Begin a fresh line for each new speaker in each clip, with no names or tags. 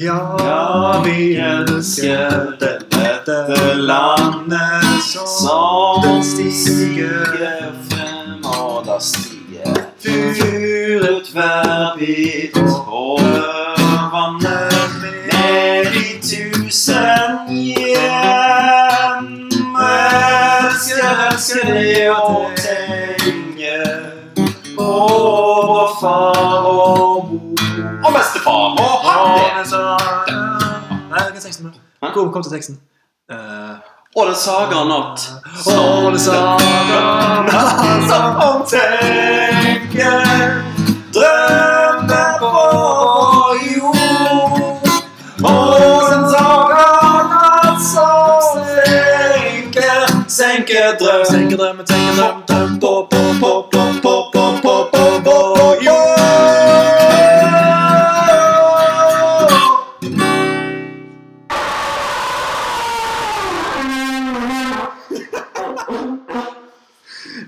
Ja, vi ønsker dette landet som stiger frem, og da stiger urettferdig over vannet med de tusen hjem. Elsker, elsker det å tenke på vår far og mor.
Og bestefar! Og han det!
Nei, hva er teksten? da?
Hæ?
Kom, kom til teksten. Eh,
Og den saga natt.
All sammen
Som om tenker drømmer på vår jord. Og den saga natt som senker, senker drøm
Tenker drømmen, tenker drømmen, drøm
på, på, på, på, på, på, på, på vår jord.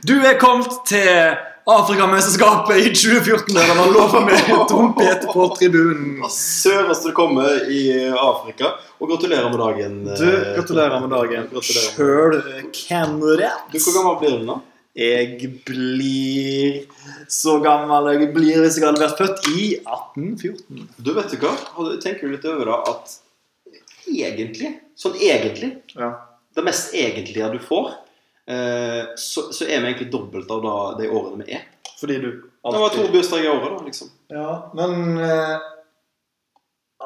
Du er kommet til Afrikamesterskapet i 2014 Der han har lovet meg trompet på tribunen
Sørest du kommer i Afrika. Og gratulerer med dagen. eh,
Du, gratulerer med dagen
Gratulerer.
Sjøl kandidat
Du, Hvor gammel blir du nå?
Jeg blir så gammel jeg blir Hvis jeg hadde vært født i 1814
Du vet du hva? Og du tenker litt over da at egentlig, sånn egentlig,
Ja
det mest egentlige du får, eh, så, så er vi egentlig dobbelt av da, de årene vi er.
Fordi du
Det var to bursdager i året, da, liksom.
Ja, men eh,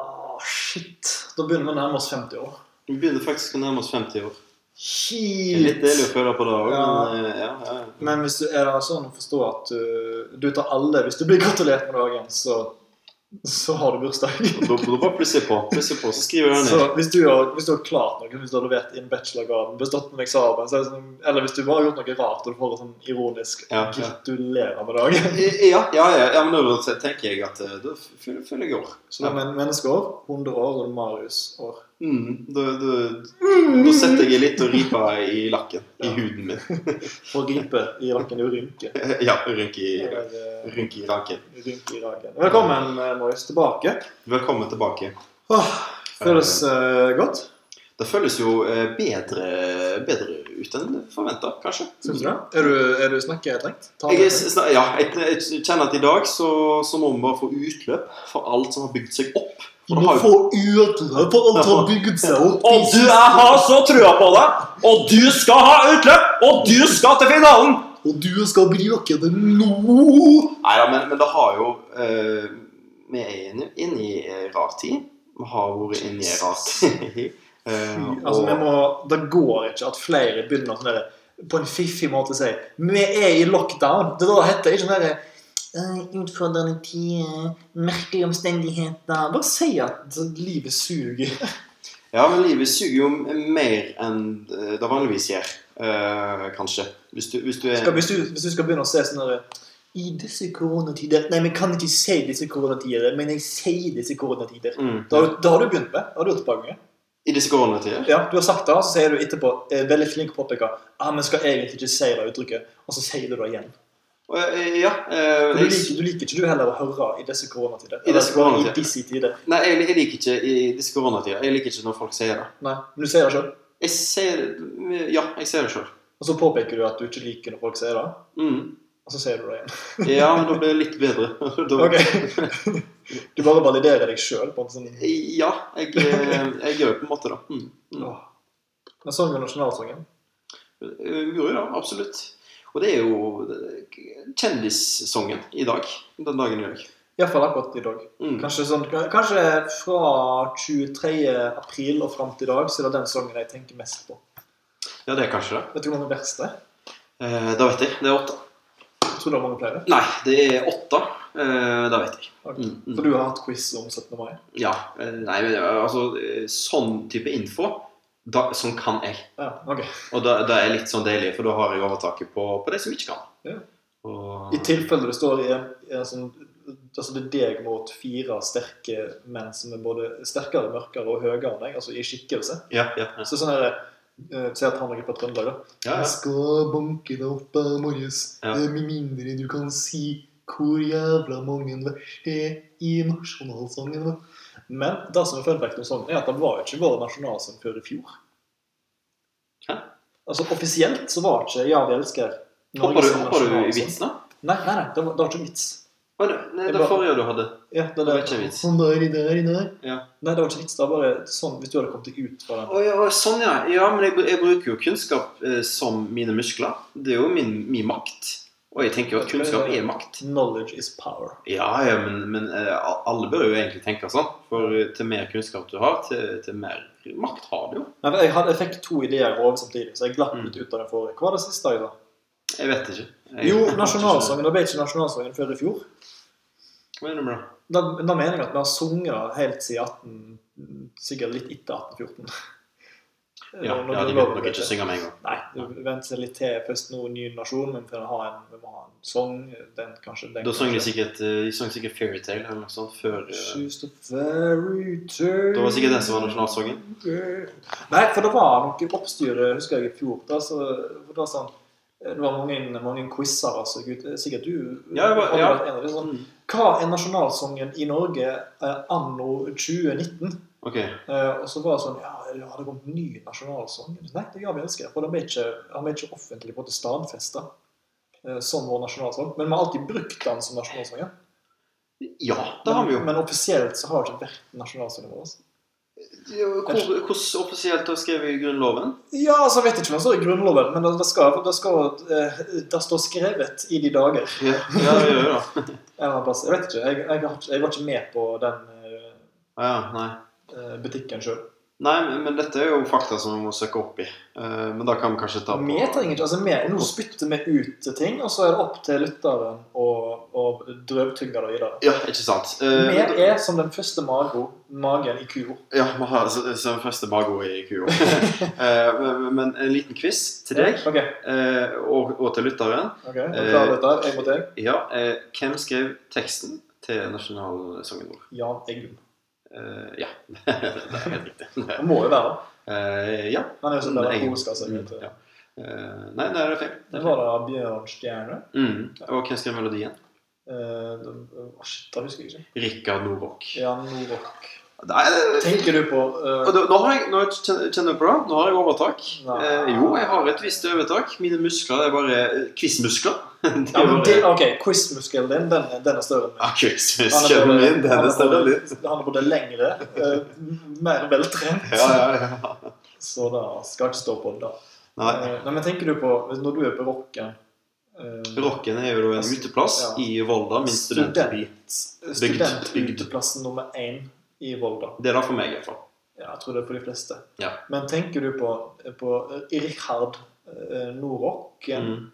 ah, Shit. Da begynner vi å nærme oss 50 år.
Vi begynner faktisk å nærme oss 50 år. Det er Litt deilig å
Shit.
føle på det òg,
Ja.
men eh, ja, ja. ja.
Men hvis du er det sånn å forstå at du, du tar alle Hvis du blir gratulert med dagen, så, så har du bursdag.
Da, da bare plusser jeg på. Plusser på, så skriver jeg det
Så
ned.
hvis du, har, hvis du har klart noe, hvis du har levert inn bachelorgraden, bestått en eksamen, så er det sånn, eller hvis du bare har gjort noe rart og du får et sånn ironisk
Ja, ja.
'gratulerer med dagen'
Eh, Ja, ja, ja, ja, men da tenker jeg at eh, da føler føler jeg år.
Så det er men- menneskeår, 100 år og Marius-år.
Mm, da, da, da setter jeg litt og riper i lakken. I
Ja.
huden min.
For gripe i rakken og rynke.
Ja, rynke i,
Eller, eh,
rynke i lakken.
rundt i dagen. Velkommen, eh, Marius, tilbake.
Velkommen tilbake.
Åh, føles eh, godt,
Det føles jo eh, bedre, bedre ut enn forventa, kanskje.
syns du det? Er du, er du snakketrengt? Ta
Jeg,
det.
er s- sna- ja, jeg, jeg kjenner at i dag så, så må vi bare få utløp for alt som har bygd seg opp.
Du må få utløp for alt har bygd seg opp.
Og du, jeg har så trua på deg! Og du skal ha utløp! Og du skal til finalen!
Og du skal bruke det nå!
Nei da, men, men det har jo eh, Vi er inne, inne i eh, rar tid. Vi har vært inne i en rar tid. Eh,
Altså, vi må, Det går ikke at flere begynner sånn der, på en fiffig måte å si Vi er i lockdown. Det da heter ikke sånn derre «Eh, Utfordrende tider, merkelige omstendigheter Bare si at livet suger.
Ja, men livet suger jo mer enn det vanligvis gjør, eh, kanskje. Hvis du, hvis du er
skal, hvis, du, hvis du skal begynne å se sånn der, I disse koronatider Nei, men jeg kan ikke si disse koronatider, men jeg sier disse koronatider.
mm,
Da, har du- da har du begynt med. Det har du gjort et par ganger.
I disse koronatider.
Ja, du har sagt det, og så sier du etterpå eh, veldig flink påpeker ah, men skal egentlig ikke si det uttrykket, og så sier du det igjen.
Og, eh, ja. eh,
For du,
jeg,
liker, du liker ikke du heller å høre i disse koronatider.
I disse
Eller, I
koronatider.
disse tider.
nei, jeg, jeg liker ikke i disse koronatider. Jeg liker ikke når folk sier det.
Nei, men du sier det sjøl.
Jeg ser Ja, jeg ser det sjøl.
Og så påpeker du at du ikke liker når folk sier det,
Mm.
og så sier du det igjen.
Ja, men da blir det litt bedre. Da,
Ok. Du bare validerer deg sjøl på en sånn
Ja, jeg, eh, jeg gjør det på en måte, da. Mm. Mm.
Åh. Men sånn går nasjonalsangen.
Eh, Gjorde det, absolutt. Og det er jo eh, kjendissongen i dag. Den dagen i dag.
Iallfall akkurat i dag.
Mm.
Kanskje, sånn, kanskje fra 23. april og fram til i dag, så er det den sangen jeg tenker mest på.
Ja, det er kanskje det.
Vet du hvor mange vers det er?
Eh, det vet jeg. Det er åtte.
Jeg tror det er mange flere.
Nei, det er åtte. Eh, det vet jeg.
Ok.
Mm, mm.
For du har hatt quiz om 17. mai.
Ja. eh, Nei, men eh, altså eh, Sånn type info, da, sånn kan jeg.
Ja, ok.
Og det, det er litt sånn deilig, for da har jeg overtaket på, på de som ikke kan.
Ja.
Og,
I tilfelle det står i en, i en sånn Altså det er deg mot fire sterke menn som er både sterkere, mørkere og høyere enn deg, altså i skikkelse.
ja, ja, ja.
Så sånn er det eh, Se at han er på Trøndelag, da.
ja,
Jeg
ja.
skal banke deg opp, eh, Marius.
Ja.
Eh, Med mindre du kan si hvor jævla mange vers er i nasjonalsangen. vår? Men det som er følelsen med sangen, sånn, er at det var jo ikke vår nasjonalsang før i fjor.
Hæ?
Altså Offisielt så var ikke 'Ja, vi elsker'
Hopper du,
Norges
hopper du i
nasjonalsang.
vitsen, da?
Nei, nei, nei, det var, det var ikke en vits.
Å, det- Nei,
Jeg
det
bare-
forrige du hadde.
Ja, det,
Det var ikke en vits.
Sånn der, i der, i der.
Ja.
Nei, det var ikke en vits. Det var bare sånn hvis du hadde kommet deg ut fra den.
Å, ja, å, sånn, ja. ja men jeg, br- jeg bruker jo kunnskap eh, som mine muskler. Det er jo min, min makt. Og jeg tenker jo at kunnskap er makt.
Knowledge is power.
Ja, ja, men, men eh, a- alle bør jo egentlig tenke sånn. For eh, til mer kunnskap du har, til, til mer makt har du jo.
Nei, men jeg, hadde, jeg fikk to ideer i hodet samtidig, så jeg glapp
Mm.
litt ut av den forrige. Hva var det siste jeg sa?
Jeg vet ikke. Jeg,
Jo, nasjonalsangen. Det ble ikke nasjonalsangen før i fjor.
Hva mener du med det?
Da, da mener jeg at vi har sunget den helt siden 18, sikkert litt etter 1814.
Ja,
Når- når
ja, de
grunnloven
vet nok
ble
ikke
til.
synge med en gang.
Nei, du venter litt til først nå ny nasjon, men for å ha en, vi må ha en sang. Den kanskje den
Da sang de
kanskje.
sikkert, eh, de sang sikkert Fairytale eller noe sånt før eh,
She's the fairy tale.
Det var sikkert den som var nasjonalsangen.
Nei, for det var noe oppstyre, husker jeg, i fjor. Da, så, for da, sånn, det var mange, mange quizer, altså. Gud, sikkert du
Ja, jeg var-
hadde
ja.
vært en av de, sånn, Hva er nasjonalsangen i Norge eh, anno 2019?
Ok.
Eh, og så var det sånn Ja, eller har det kommet ny nasjonalsang? Nei, det gjør vi elsker. For den er ikke, den er ikke offentlig på en måte stadfesta eh, som vår nasjonalsang. Men vi har alltid brukt den som nasjonalsang. Ja.
Ja, det har vi jo.
Men offisielt så har det ikke vært nasjonalsangen vår. altså.
Hvor- Hvordan offisielt har skrevet i Grunnloven?
Ja, altså, jeg vet ikke hva som står i Grunnloven, men det, det, skal, det, skal, eh, det står skrevet i de dager.
Ja, ja det gjør det. da.
En eller annen plass. Jeg vet ikke. Jeg, jeg, har ikke- jeg var ikke med på den eh,
Ah, ja, nei.
eh, butikken sjøl.
nei, men- men dette er jo fakta som vi må søke opp i. Eh, Men da kan vi kanskje ta på
Vi trenger ikke, altså vi, Nå spytter vi ut ting, og så er det opp til lytteren å, å drøvtygge det videre.
Ja, ikke sant. Eh,
Vi
da-
er som den første mago, magen i kua.
Ja, vi har s- som første bago i kua. Eh, men- Men en liten quiz til deg
Ok,
eh, og, og til lytteren.
ok, er du klar over dette? Jeg mot deg.
Ja, eh, hvem skrev teksten til nasjonalsangen vår?
Jan Eggum.
Eh, Ja. Det er helt riktig.
Han må jo være det.
Eh, Ja.
Han er jo sånn der
Eggum.
korisk, altså.
Mm, ja. Eh, Nei, det er feil. Det
Det
er
var da Bjørn Stjerne.
feil. Mm. Og hvem skrev melodien?
Eh, det- å, shit, det husker jeg ikke.
Rikard Nordrock.
Jan Nordrock.
Nei,
Tenker du på eh,
Og da, nå, har jeg, nå kjenner kjenner du på det. Nå har jeg overtak.
Nei.
Eh, jo, jeg har et visst overtak. Mine muskler er bare eh, quizmuskler. Det er
ja, men
bare-
det, Ok, quizmuskelen din, den, er- den er større enn
Ja,
min.
quizmuskelen Ah, min, den er større enn din.
Han er både lengre, eh, mer veltrent.
Ja, ja, ja.
Så da skal jeg ikke stå på det, da.
Nei.
Eh, Nei, men tenker du på Når du er på rocken eh,
Rocken er jo da en uteplass
Ja.
i Volda, min
Student.
studentby. bygd.
Studentutplassen nummer én i Volda.
Det er det for meg, i hvert fall.
Ja, jeg tror det er for de fleste.
Ja.
Men tenker du på, på Richard eh, Nordrocken?
Mm.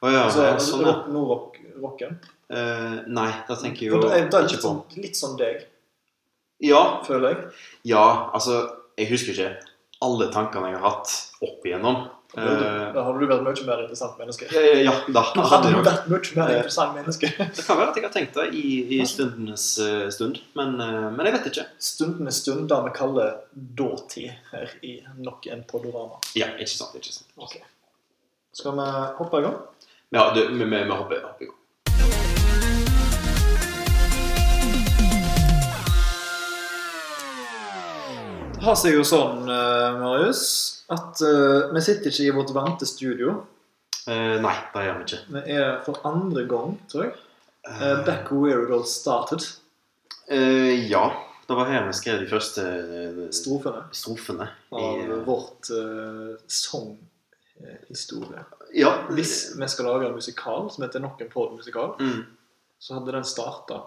Å ja,
Altså,
ja, sånn ja.
rock, Nordrock-rocken?
Eh, nei, da tenker jeg jo
For det er, det er
ikke
litt,
på
sånn, litt som deg,
Ja,
føler jeg.
ja, altså Jeg husker ikke alle tankene jeg har hatt opp igjennom.
Da hadde du-
Eh,
da hadde du vært mye mer interessant menneske.
ja, ja, ja, da
Da
hadde
hadde
jeg
du
nok
vært mye mer interessant menneske.
Det kan være at jeg har tenkt det i, i stundenes eh, stund, men, eh, men jeg vet ikke.
Stundene stunder vi kaller dåtid her i nok en Podorama.
Ja, ikke sant, ikke sant.
Ok. Skal vi hoppe i gang?
Ja, du, vi, vi, vi hopper hopper i gang.
Det har seg jo sånn, eh, Marius, at eh, vi sitter ikke i vårt vante studio.
Eh, nei, det gjør vi ikke.
Vi er for andre gang, tror jeg,
Eh,
eh, back where it all started.
eh, ja, det var her vi skrev de første eh,
Strofene
strofene. I,
av
eh,
vårt eh, sanghistorie.
ja,
Hvis vi skal lage en musikal som heter Nok en pod musikal,
Mm.
så hadde den starta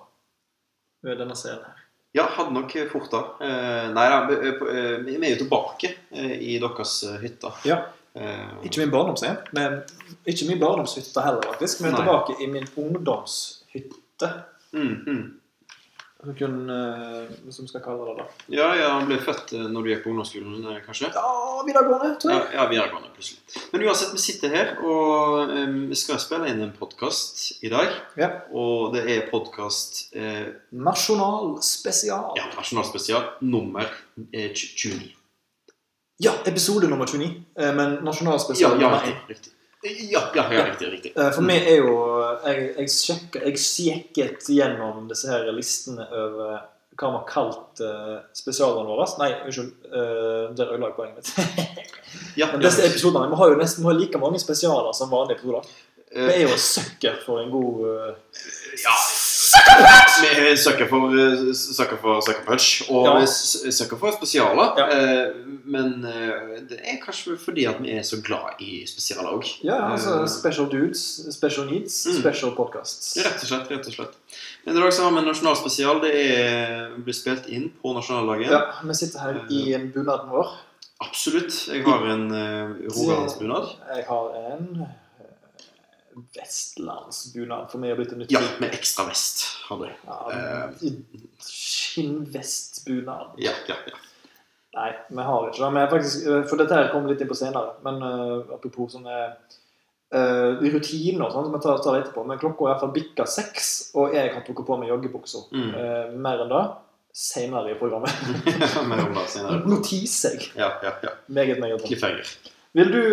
ved denne scenen her.
Ja, hadde nok fort da. Eh, nei da, vi eh, på- eh, vi vi er jo tilbake eh, i deres eh, hytte.
Ja.
Eh,
Ikke min barndomshjem, men ikke min barndomshytte heller, faktisk. Men
Nei.
tilbake i min ungdomshytte,
mm, mm.
som, kunne, eh, som skal kalle det da.
Ja, ja, han ble født eh, når du gikk på ungdomsskolen, eh, kanskje?
Ja, videregående, tror jeg.
Ja, ja, videregående, plutselig. Men uansett, vi sitter her, og eh, vi skal spille inn en podkast i dag.
Ja.
Og det er podkast eh,
Nasjonal spesial.
ja, Nasjonalspesial nummer eh, tj- 29.
Ja, episode nummer 29. eh, Men nasjonal
Ja,
spesial
ja,
nummer
riktig.
én.
riktig. Ja, ja, ja riktig. riktig.
Eh, For meg er jo eh, Jeg, jeg, sjekker, jeg sjekket gjennom disse her listene over hva vi har kalt uh, spesialene våre. Nei, unnskyld. eh, der ødela jeg poenget mitt.
Ja,
Men
ja.
disse episodene, Vi har jo nesten vi har like mange spesialer som vanlige episoder. Vi
Eh,
er jo søkker for en god eh,
ja. Vi er Sucker for, eh, sucker for Sucker Punch og
Ja.
ja. sucker for spesialer.
Ja.
Eh, Men eh, det er kanskje fordi at vi er så glad i spesialer òg.
Ja, altså
Eh.
Special Dudes, Special Needs,
Mm.
Special Podcasts.
Rett og slett. rett og slett. Men i dag så har vi en nasjonalspesial. Det er, blir spilt inn på nasjonaldagen.
Ja, Vi sitter her
Eh.
i en bunaden vår.
Absolutt. Jeg har en uh, rogalandsbunad.
Jeg har en eh, vestlandsbunad, for meg har blitt en nytt
Ja, med ekstra vest. Hadde jeg.
Ja, Eh, Skinnvestbunad.
Ja, ja, ja.
Nei, vi har ikke det. Men jeg faktisk, eh, for dette her kommer vi litt inn på senere. Men eh, apropos sånne eh, rutiner og sånn, som jeg tar, tar det etterpå. Men klokka er iallfall bikka seks, og jeg har trukket på meg joggebuksa.
Mm.
Eh, mer enn det senere i programmet.
Mer om det senere.
Nå teaser jeg.
Ja, ja, ja.
Meget, meget bra.
Cliffhanger.
Vil du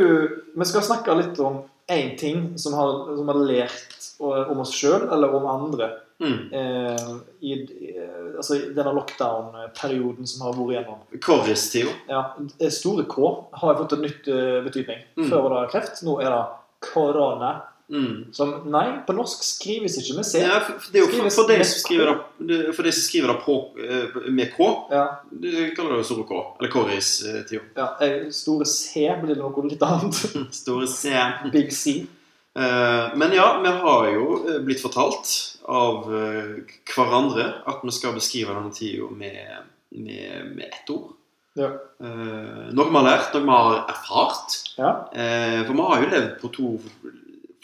Vi skal snakke litt om én ting som har, som har lært eh, om oss sjøl, eller om andre.
Mm.
eh, i, eh, altså, i denne lockdown-perioden som har vært igjennom.
Korristida.
Ja, det store K har fått en nytt eh, betydning.
Mm.
Før var det kreft, nå er det korona.
Mm.
Som Nei, på norsk skrives ikke med C.
Ja, for, for det er jo for,
Skrives
for, de
med
som skriver det, det- for de som skriver det på, eh, med K,
Ja,
de kaller det jo Store K. Eller Korris-tida.
ja, eh, Store C blir noe litt annet.
Mm. Store C.
Big C.
Eh, Men ja, vi har jo eh, blitt fortalt av eh, hverandre at vi skal beskrive denne tida med, med, med ett ord.
Ja.
Eh, noe vi har lært, noe vi har erfart.
Ja.
Eh, for vi har jo levd på to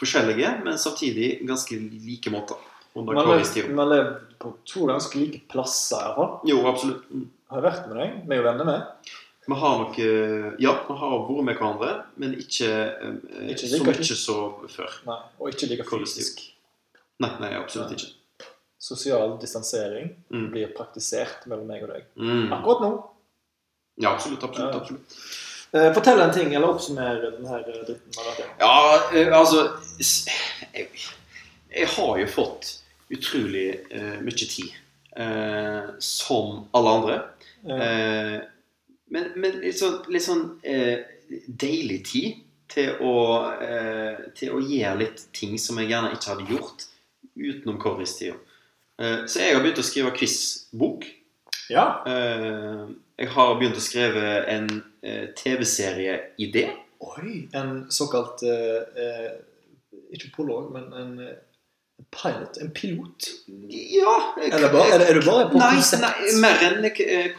forskjellige, men samtidig ganske like måter. Under
Man har
koristida.
levd- man har levd på to ganske like plasser, i hvert fall.
Jo, absolutt. Mm.
Har jeg vært med deg. Vi er jo venner med.
Vi har nok eh, Ja, vi har vært med hverandre, men ikke, eh,
Ikke
så
like.
mye så før.
Nei, og ikke like
Kollektiv.
fysisk.
Nei, nei absolutt ikke.
Sosial distansering
Mm.
blir praktisert mellom meg og deg.
Mm.
Akkurat nå
Ja, absolutt. absolutt,
Ja.
absolutt.
Eh, Fortell en ting, eller oppsummer den her eh, dritten. vi har vært igjennom.
Ja, eh, altså s- Jeg, jeg har jo fått utrolig eh, mye tid. eh, som alle andre.
Eh,
Eh, men, men litt sånn, litt sånn eh, deilig tid til å, eh, til å gjøre litt ting som jeg gjerne ikke hadde gjort utenom korristida. Eh, så jeg har begynt å skrive quizbok.
Ja.
Eh, jeg har begynt å skrive en eh, TV-serieidé.
Oi. En såkalt eh, eh, Ikke prolog, men en eh, pilot. En pilot.
Ja! jeg-
Eller bare, eller er du bare på
Nei,
konsept?
nei, mer en eh,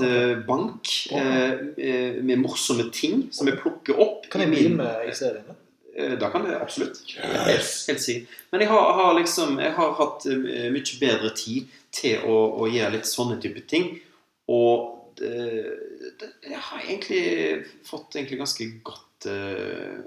konseptbank eh, eh, med morsomme ting som jeg plukker opp.
Kan
i
jeg
min-
begynne med i serien?
Eh, Da kan du absolutt. Helt- Helt sikkert. Men jeg har, har liksom Jeg har hatt eh, mye bedre tid til å, å gjøre litt sånne type ting. Og eh, det, jeg har egentlig fått egentlig ganske godt eh,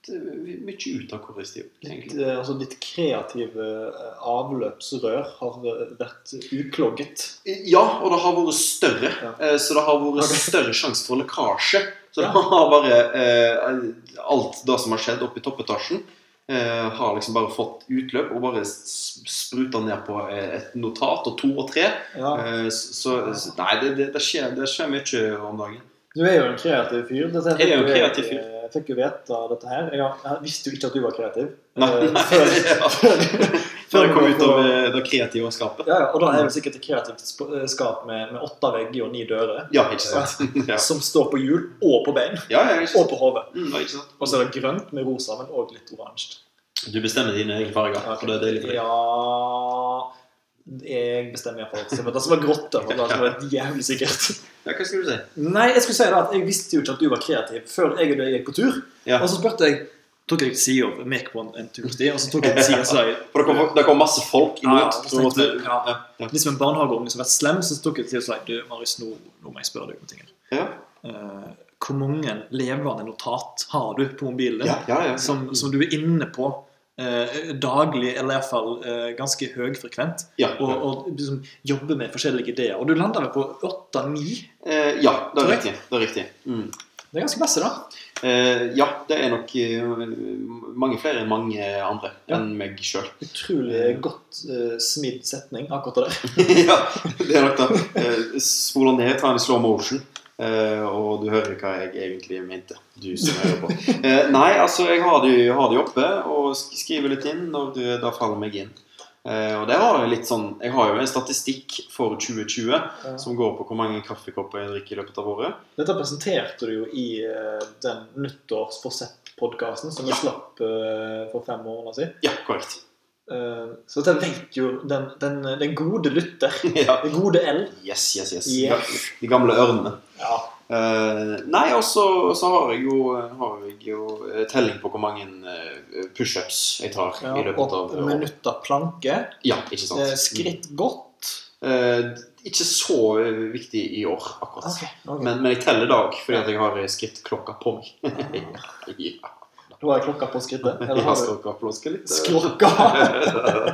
Fått eh, mye ut av korristid.
Litt,
egentlig.
eh, altså ditt kreative eh, avløpsrør har eh, vært uklogget.
Ja, og det har vært større.
Ja.
eh, Så det har vært
Ok.
større sjanse for lekkasje. Så det
Ja.
har bare eh, Alt det som har skjedd oppe i toppetasjen, eh, har liksom bare fått utløp og bare s- spruta ned på eh, et notat og to og tre.
Ja.
Eh, s- Så, så Nei, det, det, det, skjer, det skjer mye om dagen.
Du er jo en kreativ fyr. Dette
Jeg er jo en
fikk
kreativ fyr.
Jeg eh, fikk jo vite dette her. Jeg, har, jeg visste jo ikke at du var kreativ.
Nei,
Eh,
nei. Før jeg kom ut av eh, det kreative skapet.
Ja, ja, og da er det sikkert et kreativt sp- eh, skap med, med åtte vegger og ni dører.
Ja, ikke sant? Ja,
Som står på hjul og på bein
ja, ja ikke
og
sant.
på hodet.
Mm, ja, ikke sant?
Og så er det grønt med rosa, men òg litt oransje.
Du bestemmer dine egne farger, og det er deilig for deg.
Ja Jeg bestemmer iallfall. Det skal være grått. da, for Det skal være jævlig sikkert.
Ja, hva skulle du si?
Nei, jeg skulle si det at jeg visste jo ikke at du var kreativ før jeg og deg gikk på tur.
Ja.
Og så spurte jeg Tok jeg sida av Mac på en- en tursti, og så tok jeg sida så sa jeg
For det kom, det kom masse folk
Ja, ja,
imot.
så
så måtte,
tenkte jeg, ja.
ja, ja.
Litt som en barnehageunge som har vært slem, så tok jeg sida og sa jeg, Du, Marius, nå, nå må jeg spørre deg om ting. her.
Ja.
Eh, hvor mange levende notat har du på mobilen din?
Ja, ja, ja.
som, som du er inne på eh, daglig, eller iallfall eh, ganske høyfrekvent,
ja.
og, og liksom, jobber med forskjellige ideer. Og du lander vel på åtte-ni.
Eh, ja, det er riktig. Det er riktig. Mm.
Det er ganske masse, da.
Eh, ja, det er nok eh, mange flere enn mange andre
Ja.
enn meg sjøl.
Utrolig godt eh, smidd setning akkurat der.
ja, det er nok det. Eh, spoler ned, tar en slow motion, eh, og du hører hva jeg egentlig mente. Du som hører på. Eh, nei, altså, jeg har de, har de oppe og sk- skriver litt inn når det da faller meg inn. Eh, og det har jeg litt sånn Jeg har jo en statistikk for 2020
Ja.
som går på hvor mange kaffekopper jeg drikker i løpet av året.
Dette presenterte du jo i eh, den nyttårsforsett-podkasten som vi
Ja.
slapp eh, for fem måneder siden.
Ja, korrekt.
Eh, så dette vet jo den, den, den gode lytter.
ja.
Den gode L.
Yes, yes, yes.
Yes.
De gamle ørnene.
Ja.
Eh, nei, og så så har jeg jo, har jeg jo eh, telling på hvor mange eh, pushups jeg tar
ja
i løpet av Sånn
og minutter planke.
Ja, ikke sant.
Eh, skritt godt.
Eh, ikke så eh, viktig i år,
Ah,
akkurat.
Ok, ok.
Sånn Men, men jeg teller dag, fordi at jeg har eh, skrittklokka på meg. ja,
Du har klokka på skrittet? Eller
jeg
har du
skal kappflaske litt.
sklokka?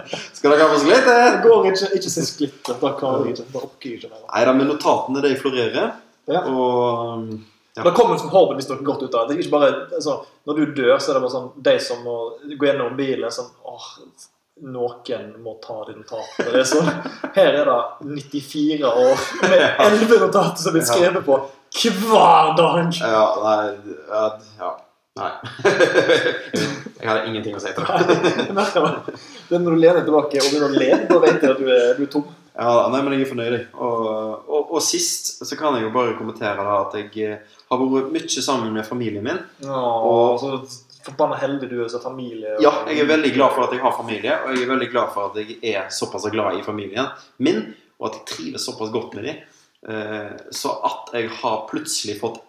skal dere kappflaske litt?
Det går ikke. Ikke se skrittet. Da klarer jeg ikke. Da orker jeg ikke mer.
Nei da, men notatene de florerer.
Ja.
Og um, Ja.
Det kommer forhåpentligvis noe godt ut av det. Det er ikke bare, altså, når du dør, så er det bare sånn De som må gå gjennom bilen sånn åh, Noen må ta de notatene. Det er sånn, her er det 94 år med 11 notater som er skrevet på hver dag!
Ja, nei Ja. ja. Nei. jeg hadde ingenting å si til det.
Jeg merker det. Det er Når du lener deg tilbake og begynner å le, da vet jeg at du er, du er tom.
Ja, nei, men jeg er fornøyd. jeg. Og, og, og sist så kan jeg jo bare kommentere da at jeg eh, har vært mye sammen med familien min.
Åh, så forbanna heldig du er som familie. og-
Ja, jeg er veldig glad for at jeg har familie, og jeg er veldig glad for at jeg er såpass glad i familien min, og at jeg trives såpass godt med dem. Så at jeg har plutselig fått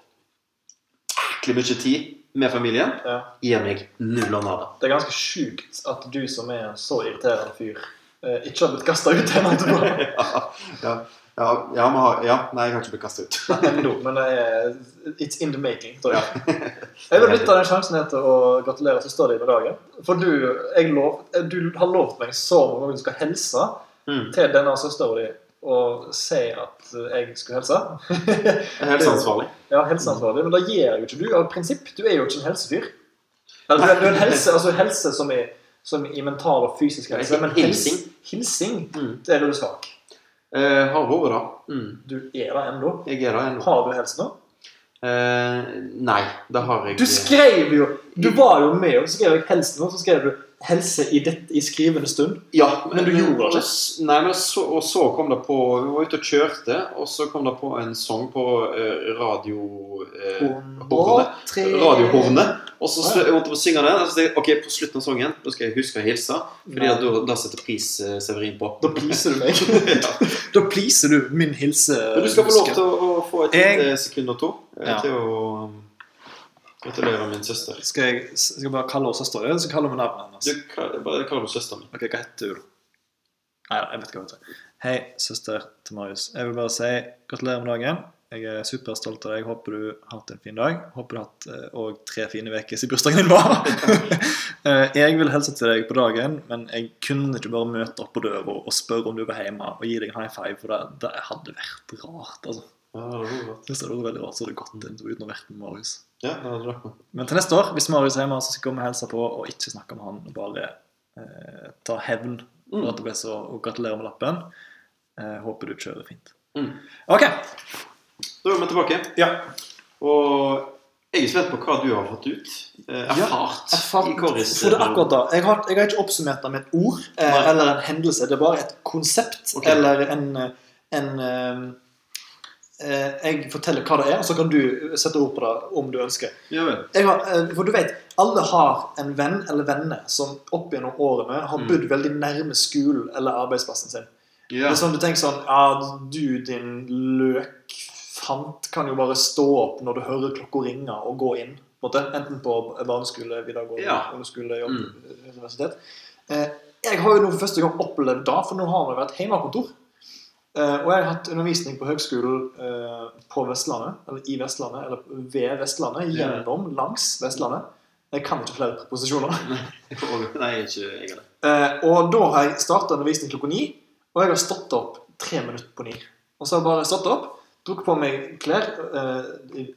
jæklig mye tid med familien,
Ja.
gir meg null og nada.
Det er ganske sjukt at du som er en så irriterende fyr, eh, ikke har blitt kasta ut ennå. etterpå.
ja, ja, ja, ja, men har- ja, nei, jeg har ikke blitt kastet ut.
Ennå, men det er It's in the making. Tror jeg.
Ja.
jeg vil benytte den sjansen her til å gratulere søstera di med dagen. For du, jeg lov, du har lovt meg så mange ganger du skal hilse
Mm.
til denne søstera di og si at jeg skulle hilse.
Helseansvarlig.
ja, helseansvarlig. Men det gjør jo ikke du av prinsipp. Du er jo ikke en helsefyr. Eller, du, er, du er en helse, altså helse som i, som i mental og fysisk
Ja,
helse, men
hilsing.
hils- hilsing,
Mm.
det er du svak.
Eh, har vært da. Mm.
Du er det ennå.
Jeg er da ennå.
Har du helse nå?
Eh, nei, det har jeg
Du skrev jo Du var jo med og skrev jeg 'helse' nå, så skrev du 'helse i, dette, i skrivende stund'.
Ja,
men du gjorde det ikke.
og s- Nei, men så, og så kom det på Vi var ute og kjørte, og så kom det på en sang på eh, radio... Eh, hornet. Radiohornet. Og så slu- jeg måtte jeg synge den. Og så tenkte jeg, ok, på slutten av sangen da skal jeg huske å hilse. Fordi at da, da setter pris eh, Severin på.
Da pleaser du meg.
ja.
da pleaser du min hilse.
Men du skal få lov til å, å få et
Jeg-
lite sekund og to eh,
Ja.
til å um, gratulere min søster.
Skal jeg skal jeg bare kalle henne søster? Eller skal jeg kalle henne navnet hennes?
Du, ka- bare kall henne søsteren min.
Ok, hva heter du? Nei, jeg vet ikke hva hun heter. Hei, søster til Marius. Jeg vil bare si gratulerer med dagen. Jeg er superstolt av deg. Håper du har hatt en fin dag. Håper du har hatt eh, og tre fine uker siden bursdagen din var. Eh, jeg vil hilse til deg på dagen, men jeg kunne ikke bare møte opp på døra og spørre om du var hjemme og gi deg en high five, for det, det hadde vært rart. altså.
Ja, det hadde vært bra.
Hvis det hadde vært veldig rart, så hadde det gått en tur uten å ha vært med Marius.
Ja, det hadde vært bra.
Men til neste år, hvis Marius er hjemme, så skal jeg komme og hilse på og ikke snakke om han. og Bare eh, ta hevn for at det ble så Og gratulerer med lappen. Eh, håper du kjører fint.
Mm.
OK.
Da er vi tilbake.
Ja.
Og jeg er spent på hva du har fått ut. Eh, erfart i eh, Corris.
For det er akkurat da. Jeg har, jeg har ikke oppsummert det med et ord eh,
Nei.
eller en hendelse. Det er bare et konsept
Ok.
eller en, en eh, eh, Jeg forteller hva det er, og så kan du sette ord på det om du ønsker.
Ja vel.
jeg har, eh, for du vet, alle har en venn eller venner som opp gjennom årene har
Mm.
bodd veldig nærme skolen eller arbeidsplassen sin. Det
Ja.
er sånn Du tenker sånn Ja, du, din løkfant, kan jo bare stå opp når du hører klokka ringe, og gå inn. på en måte. Enten på barneskole, videregående,
Ja. Mm.
ungdomsskole, jobb, universitet. Eh, jeg har jo nå for første gang opplevd det, for nå har vi vært hjemmekontor. Eh, og jeg har hatt undervisning på høgskolen eh, på Vestlandet, eller i Vestlandet, eller ved Vestlandet,
Ja.
gjennom, langs Vestlandet. Jeg kan ikke flere preposisjoner.
Og- Nei, jeg er ikke jeg er det.
Eh, og da har jeg starta undervisning klokka ni, og jeg har stått opp tre minutter på ni. Og så har jeg bare stått opp, tok på meg klær, eh,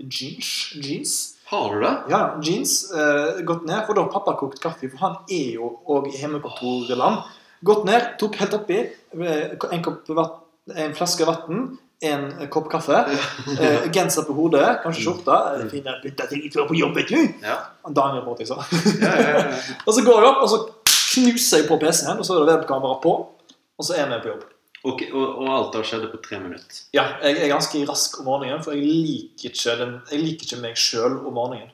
jeans, jeans,
Har du det?
ja, jeans, eh, gått ned, og da har pappa kokt kaffe, for han er jo òg hjemmekontorland. Gått ned, tok helt oppi eh, en, kopp vatt, en flaske vann, en kopp kaffe, eh, genser på hodet, kanskje skjorte, eh, fine bytte ting før på jobb, vet du.
Ja.
Daniel Båt, liksom.
ja, ja, ja.
Og så går jeg opp, og så knuser jeg på PC-en, og så er det webkamera på, og så er vi på jobb.
Ok, og, og alt det skjedde på tre minutter.
Ja, jeg er ganske rask om morgenen, for jeg liker ikke, den, jeg liker ikke meg sjøl om morgenen.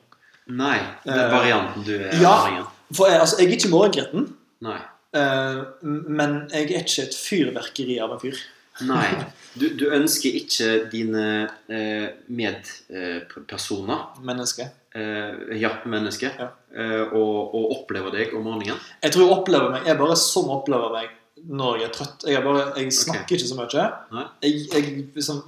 Nei. Det er
Eh,
varianten du er
ja.
erfaringen.
For jeg, altså, jeg er ikke morgengretten,
Nei.
eh, men jeg er ikke et fyrverkeri av en fyr.
Nei. Du, du ønsker ikke dine eh, medpersoner,
Menneske.
eh, ja, mennesker,
Ja.
eh, å, å oppleve deg om morgenen.
Jeg tror jeg opplever meg Jeg er bare sånn opplever meg når jeg er trøtt. Jeg, er bare, jeg snakker
Ok.
ikke så mye.
Nei.
Jeg, jeg, liksom,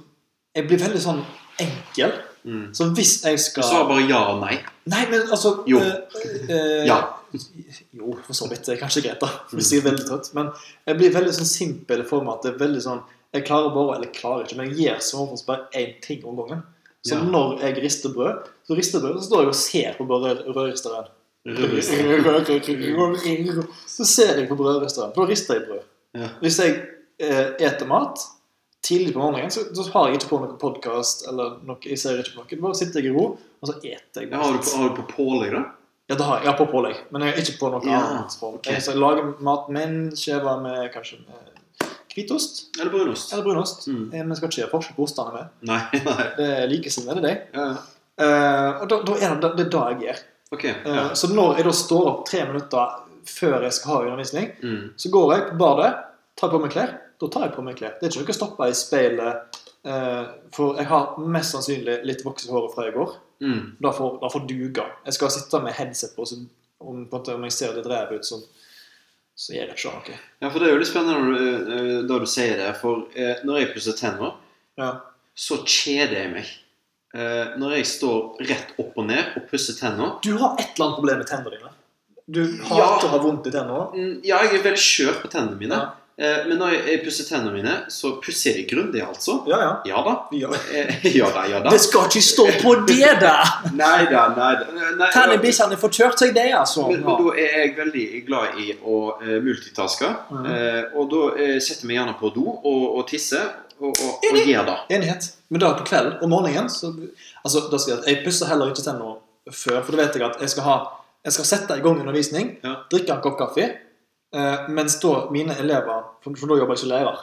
jeg blir veldig sånn enkel.
Mm.
Så hvis jeg
Du
skal
sa bare ja og nei.
Nei, men altså
Jo.
eh, eh,
Ja.
Jo, for så vidt. Det er kanskje greit, da. Hvis jeg er veldig trøtt. Men jeg blir veldig sånn simpel i form av at det er veldig sånn Jeg klarer bare, eller klarer ikke, men jeg gjør som oftest bare én ting om gangen. Så
Ja.
når jeg rister brød, så rister brød, så står jeg og ser på bare rødristeren.
Rødristeren.
Mm. Så ser jeg på brødristeren, for da rister jeg brød.
Ja.
Hvis jeg eh, eter mat tidlig på morgenen, så, så har jeg ikke på noen podkast eller noe. Jeg ser ikke på noe. Bare sitter jeg i ro, og så eter jeg.
Ja, Har du, på- har du på pålegg, da?
Ja, det har jeg. Jeg har på pålegg, men jeg er ikke på noe
Ja,
annet form.
ok.
Jeg, så jeg lager mat med en skjeve med kanskje med hvitost
Eller brunost?
eller brunost.
Mm.
Eh, Men jeg skal ikke gjøre forskjell på ostene med.
Nei. nei.
Det er likesinnede, det.
Ja, ja.
Uh, og da, da er det, det er da jeg gjør.
Ok.
Eh,
Ja.
Så når jeg da står opp tre minutter før jeg skal ha undervisning,
Mm.
så går jeg på badet, tar på meg klær. Da tar jeg på meg klær. Det er ikke noe å stoppe i speilet, eh, for jeg har mest sannsynlig litt voksent hår fra i går.
Mm.
Da får, da får duga. Jeg skal sitte med headset på, så om, på en måte, om jeg ser litt ræv ut, så, så gjør jeg ikke noe.
Ja, for det er jo litt spennende når du, eh, da du sier det, for eh, når jeg pusser tenner,
Ja.
så kjeder jeg meg. Eh, Når jeg står rett opp og ned og pusser tenner
Du har et eller annet problem med tennene dine. Du
Ja.
hater å ha vondt i tennene.
Mm, Ja, jeg er veldig skjør på tennene mine, Eh, men når jeg- jeg pusser tennene mine, så pusser jeg grundig, altså.
Ja, ja.
Ja da.
ja.
Eh, Ja da, ja da.
Det skal ikke stå på det, da!
Nei da, nei da. sånn, Nei, Eh, nei,
Tennebikkjene får kjørt seg, det, altså.
Men, men da er jeg veldig glad i å eh, multitaske.
Mhm.
Eh, og da eh, setter jeg meg gjerne på do og, og tisser, og, og, og gjør det.
Enighet. Men da på kvelden om morgenen så, altså, da skal jeg, jeg pusser heller ikke tennene før, for da vet jeg at jeg skal, ha, jeg skal sette i gang undervisning,
Ja.
drikke en kopp kaffe, eh, mens da mine elever For, for da jobber jeg som lærer.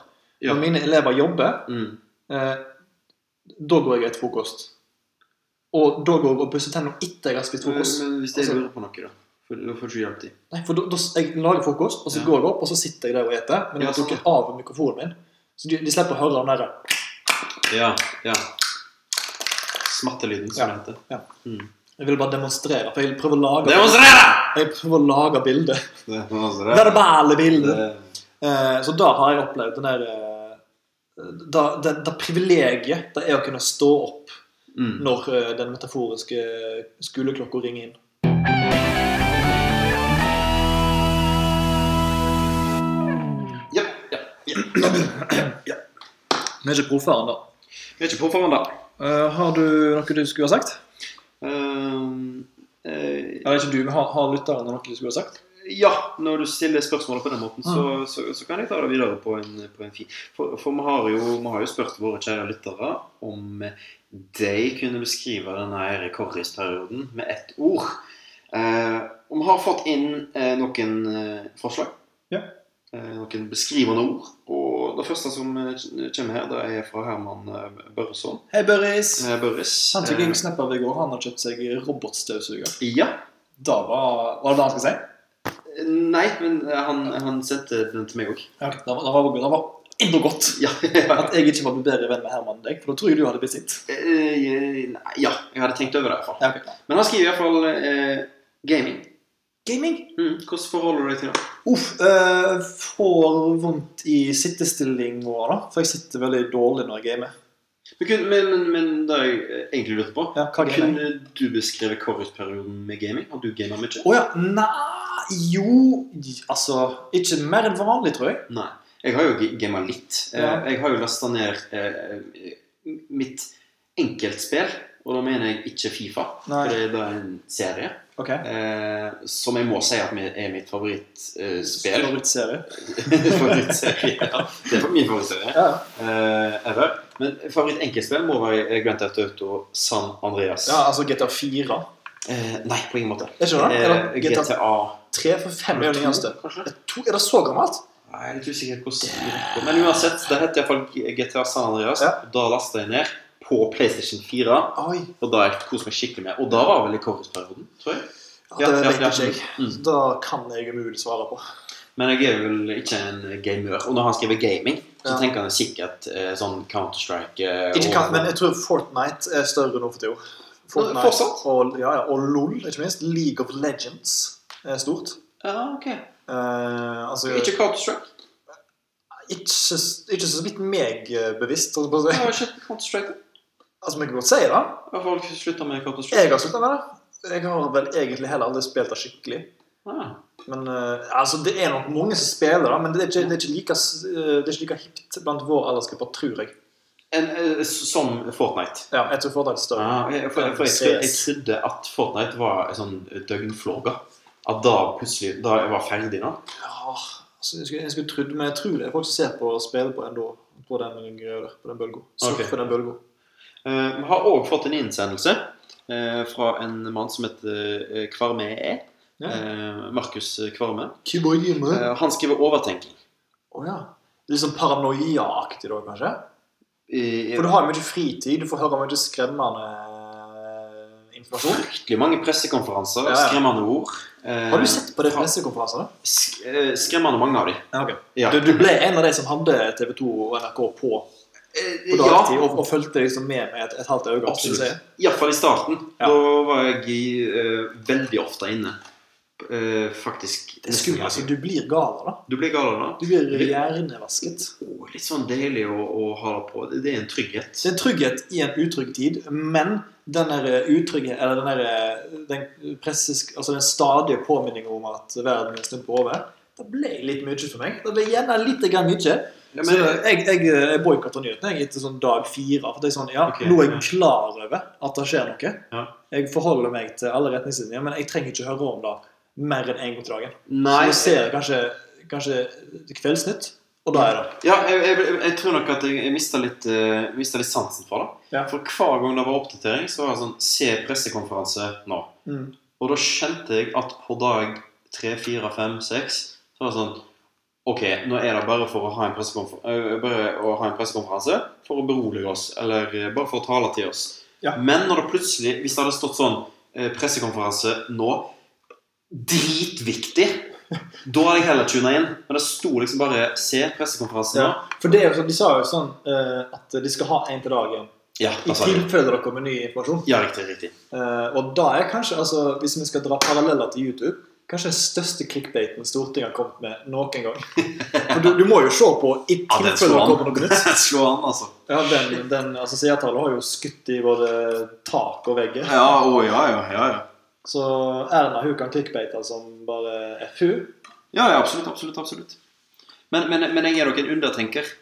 Ja.
Når mine elever jobber,
Mm.
eh, da går jeg etter frokost. Og da går jeg og pusser tennene etter jeg har spist
Men,
frokost.
Eh, men hvis jeg
Altså-
lurer på noe, da? For, da får du ikke hjelp til.
Nei, for da, da, Jeg lager frokost, og så
Ja.
går jeg opp, og så sitter jeg der og eter. Men jeg
Ja,
har
sånn,
trukket av mikrofonen min, så de, de slipper å høre den derre
Ja, ja. Smattelyden, som
Ja.
det heter.
Ja.
Mm.
Jeg vil bare demonstrere, for jeg vil prøve å lage
Demonstrere!
Jeg prøver å lage bilder.
Demonstrere!
Verbale bilder.
Det-
Eh, Så da har jeg opplevd den der eh, da, det, det privilegiet det er å kunne stå opp
Mm.
når eh, den metaforiske skoleklokka ringer inn.
Ja, ja.
Vi er ikke proffere ennå.
Vi er ikke på forhånd, da.
Eh, Har du noe du skulle ha sagt?
Ehm, eh,
Eller ikke du, men har, har lytterne noe de skulle ha sagt?
Ja, når du stiller spørsmålet på den måten, så,
Ah.
så, så kan jeg ta det videre på en, på en fin For, for vi, har jo, vi har jo spurt våre kjære lyttere om de kunne beskrive denne her korrisperioden med ett ord. Eh, og vi har fått inn eh, noen eh, forslag.
Ja.
Eh, noen beskrivende ord. Og det første som eh, kommer her, det er fra Herman eh, Børreson.
Hei, Børris.
Eh, Børres.
Han tok
Eh,
jeg snap av i går. Han har kjøpt seg robotstøvsuger.
ja.
Da var, var det det han skulle si?
Nei, men eh, han, han sendte den til meg òg.
Ja, det var, det var, det var enda godt
Ja, ja.
at jeg ikke var blitt bedre venn med Herman enn deg, for da tror jeg du hadde blitt sint.
Eh, jeg- nei, ja, jeg hadde tenkt over det. i hvert fall.
Ja, ok.
Men han skriver i hvert fall eh, gaming.
Gaming.
Mm, hvordan forholder du deg til det?
Uff, eh, får vondt i sittestillinga, da. For jeg sitter veldig dårlig når jeg gamer.
Men, kun- men, men, men det jeg eh, egentlig lurte på
Ja, hva gamer jeg?
Kunne du beskrevet korrusperioden med gaming? Har du gamet mye?
Å ja, nei Jo Altså, ikke mer enn vanlig, tror jeg.
Nei. Jeg har jo gamet litt. Eh,
Ja.
Jeg har jo lasta ned eh, mitt enkeltspill, og da mener jeg ikke Fifa,
Nei.
for det er da en serie,
Ok.
eh, som jeg må si at mi- er mitt favorittspill.
Favorittserie.
Favorittserie, ja. Det er min favorittserie.
Ja.
Eh, ever. Men favoritt-enkeltspill må være eh, Grand Theft Auto San Andreas.
ja, altså GTA 4.
Eh, nei, på ingen måte.
Er ikke det? Eller
Eh,
GTA
GTA
3 for 5 er jo det nyeste.
kanskje?
Er to- Er det så gammelt?
Nei, jeg er litt usikker på hvordan Men uansett, det heter iallfall GTA San Andreas.
Ja.
Da lasta jeg ned på PlayStation 4,
Oi.
og da har jeg kost meg skikkelig med. Og da var vel i kortperioden, tror jeg.
Ja, det
Ja, ja,
vet
ja.
ikke jeg.
Mm.
Da kan jeg umulig svare på.
Men jeg er vel ikke en gamer. Og når han skriver gaming, så
Ja.
tenker han sikkert eh, sånn Counter-Strike eh,
Ikke kan,
og-
men jeg tror Fortnite er større nå for tida.
Nå, fortsatt?
og, ja, ja, og LOL, ikke minst. League of Legends er stort.
Ja, ok.
Eh, altså, ikke,
Ikke Counter-Strike?
ikke, så vidt meg eh, bevisst. holdt jeg på å
Jeg
si.
har ikke Counter-Strike.
Altså, vi kan godt si det.
Jeg har folk slutta med Counter-Strike.
Jeg har slutta med det. Jeg har vel egentlig heller aldri spilt det skikkelig.
Ah.
Men eh, altså, Det er nok mange som spiller, da, men det er ikke, det er ikke, like, s- eh, det er ikke like hipt blant vår aldersgruppe, tror jeg.
En, eh, som Fortnite.
Ja, jeg tror Fortnite er større.
Ja, jeg- for, for jeg, trodde, jeg trodde at Fortnite var en sånn døgnflåge. At da plutselig Da jeg var ferdig nå
Ja, altså, jeg, skulle, jeg skulle trodd, men jeg tror det er folk som ser på og spiller på ennå. På den greia der, på den bølga. Surf
Ok.
på den bølga.
Eh, Vi har òg fått en innsendelse eh, fra en mann som heter eh, Kvarme E.
Ja.
Eh, Markus Kvarme.
Keyboard hjemme.
Eh, han skriver 'overtenking'.
Å ja. Litt sånn paranoiaaktig da, kanskje?
I, i
For du har jo mye fritid, du får høre mye skremmende eh, informasjon.
fryktelig mange pressekonferanser.
Ja, ja.
Skremmende ord. Eh,
Har du sett på de
fra-
pressekonferansene?
sk- eh, skremmende mange av dem.
Ja, ok.
Ja.
Du, du ble en av de som hadde TV2 og NRK på, på dagtid,
Eh, ja,
og, og fulgte liksom med med et, et halvt øye. skulle jeg
Absolutt.
si.
Iallfall i starten.
Ja.
Da var jeg i, eh, veldig ofte inne. Eh, faktisk.
Det er skummelt. Altså, du blir gal av det.
Du blir gal av
Du
det?
blir hjernevasket.
Åh, litt sånn deilig å, å ha det på. Det, det er en trygghet.
Det er en trygghet i en utrygg tid, men den der utrygghet, eller den, der, den, presses, altså den stadige påminningen om at verden er snudd på hodet, det ble litt mye for meg. Det ble gjerne litt grann mye.
Ja,
Så
men,
jeg jeg, eh, jeg boikotter nyhetene jeg, etter sånn dag fire. For det er sånn, ja,
Ok,
Nå er jeg
ja.
klar over at det skjer noe.
Ja.
Jeg forholder meg til alle retningslinjer, men jeg trenger ikke høre om det mer enn én gang til dagen. Så
nei
nå ser jeg kanskje, kanskje Kveldsnytt, og da er det.
ja, jeg, jeg, jeg tror nok at jeg, jeg mista litt, eh, mistet litt sansen for det.
Ja.
For hver gang det var oppdatering, så var det sånn Se pressekonferanse nå.
Mm.
Og da skjønte jeg at på dag tre, fire, fem, seks så var det sånn Ok, nå er det bare for å ha en pressekonfer- eh, bare å ha en pressekonferanse for å berolige oss, eller eh, bare for å tale til oss.
Ja.
Men når det plutselig, hvis det hadde stått sånn eh, pressekonferanse nå Dritviktig! Da hadde jeg heller tuna inn. Men det sto liksom bare Se pressekonferanse nå.
Ja. For det er jo sånn, De sa jo sånn eh, at de skal ha en til dagen
Ja,
i
da sa jeg.
tilfelle det kommer ny informasjon.
Ja, riktig. riktig.
Eh, og da er kanskje, altså, hvis vi skal dra paralleller til YouTube, kanskje den største clickbaiten Stortinget har kommet med noen gang. For du, du må jo se på i
Ja, den
tilfelle det
slår
kommer noe nytt.
Slå an, altså.
Ja, den, den, altså Seertallet har jo skutt i både tak og vegger.
Ja, å ja, ja. Ja, ja.
Så Erna hun kan clickbaite som bare FU.
ja, ja absolutt. Absolutt. absolutt. Men, men, men jeg er nok en undertenker.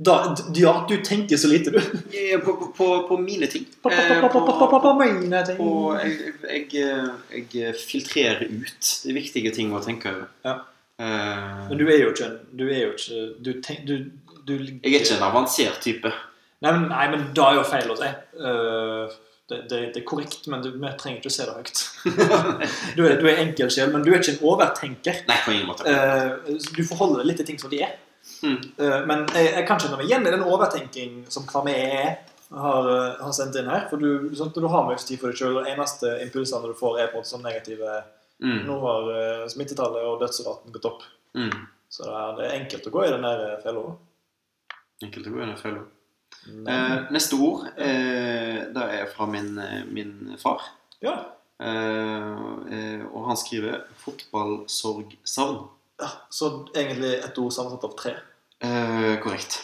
Da, d- ja, du tenker så lite, du.
Eh, På, på- på, på mine ting. Eh, På, på, på,
På
jeg, jeg, eh, jeg filtrerer ut de viktige ting å tenke over.
Ja.
Eh,
Men du er jo ikke en Du er jo ikke Du, tenk, du, du ligger-
jeg er ikke en avansert type.
Nei, men, nei, men da er jo feil å si. Eh, det, det, det er korrekt, men du, vi trenger ikke å se det høyt. Du er, du er enkel sjel, men du er ikke en overtenker.
Nei, på ingen måte.
Eh, så du forholder deg litt til ting som de er.
Mm.
Eh, men jeg, jeg kan kjenne meg igjen i den overtenking som Kvarme er, har, eh, har sendt inn her. For du, sånn, at du har mye tid for deg sjøl, og de eneste impulsene du får, er på en måte som negative.
Mm.
Nå har eh, smittetallet og dødsraten gått opp.
Mm.
Så det er, det er enkelt å gå i den der eh, fella.
Enkelt å gå inn og følge opp.
Men-
Eh, neste ord eh, det er fra min, eh, min far.
Ja.
Eh, eh, og han skriver 'fotballsorgsavn'.
Ja, Så egentlig et ord sammensatt av tre.
Eh, korrekt.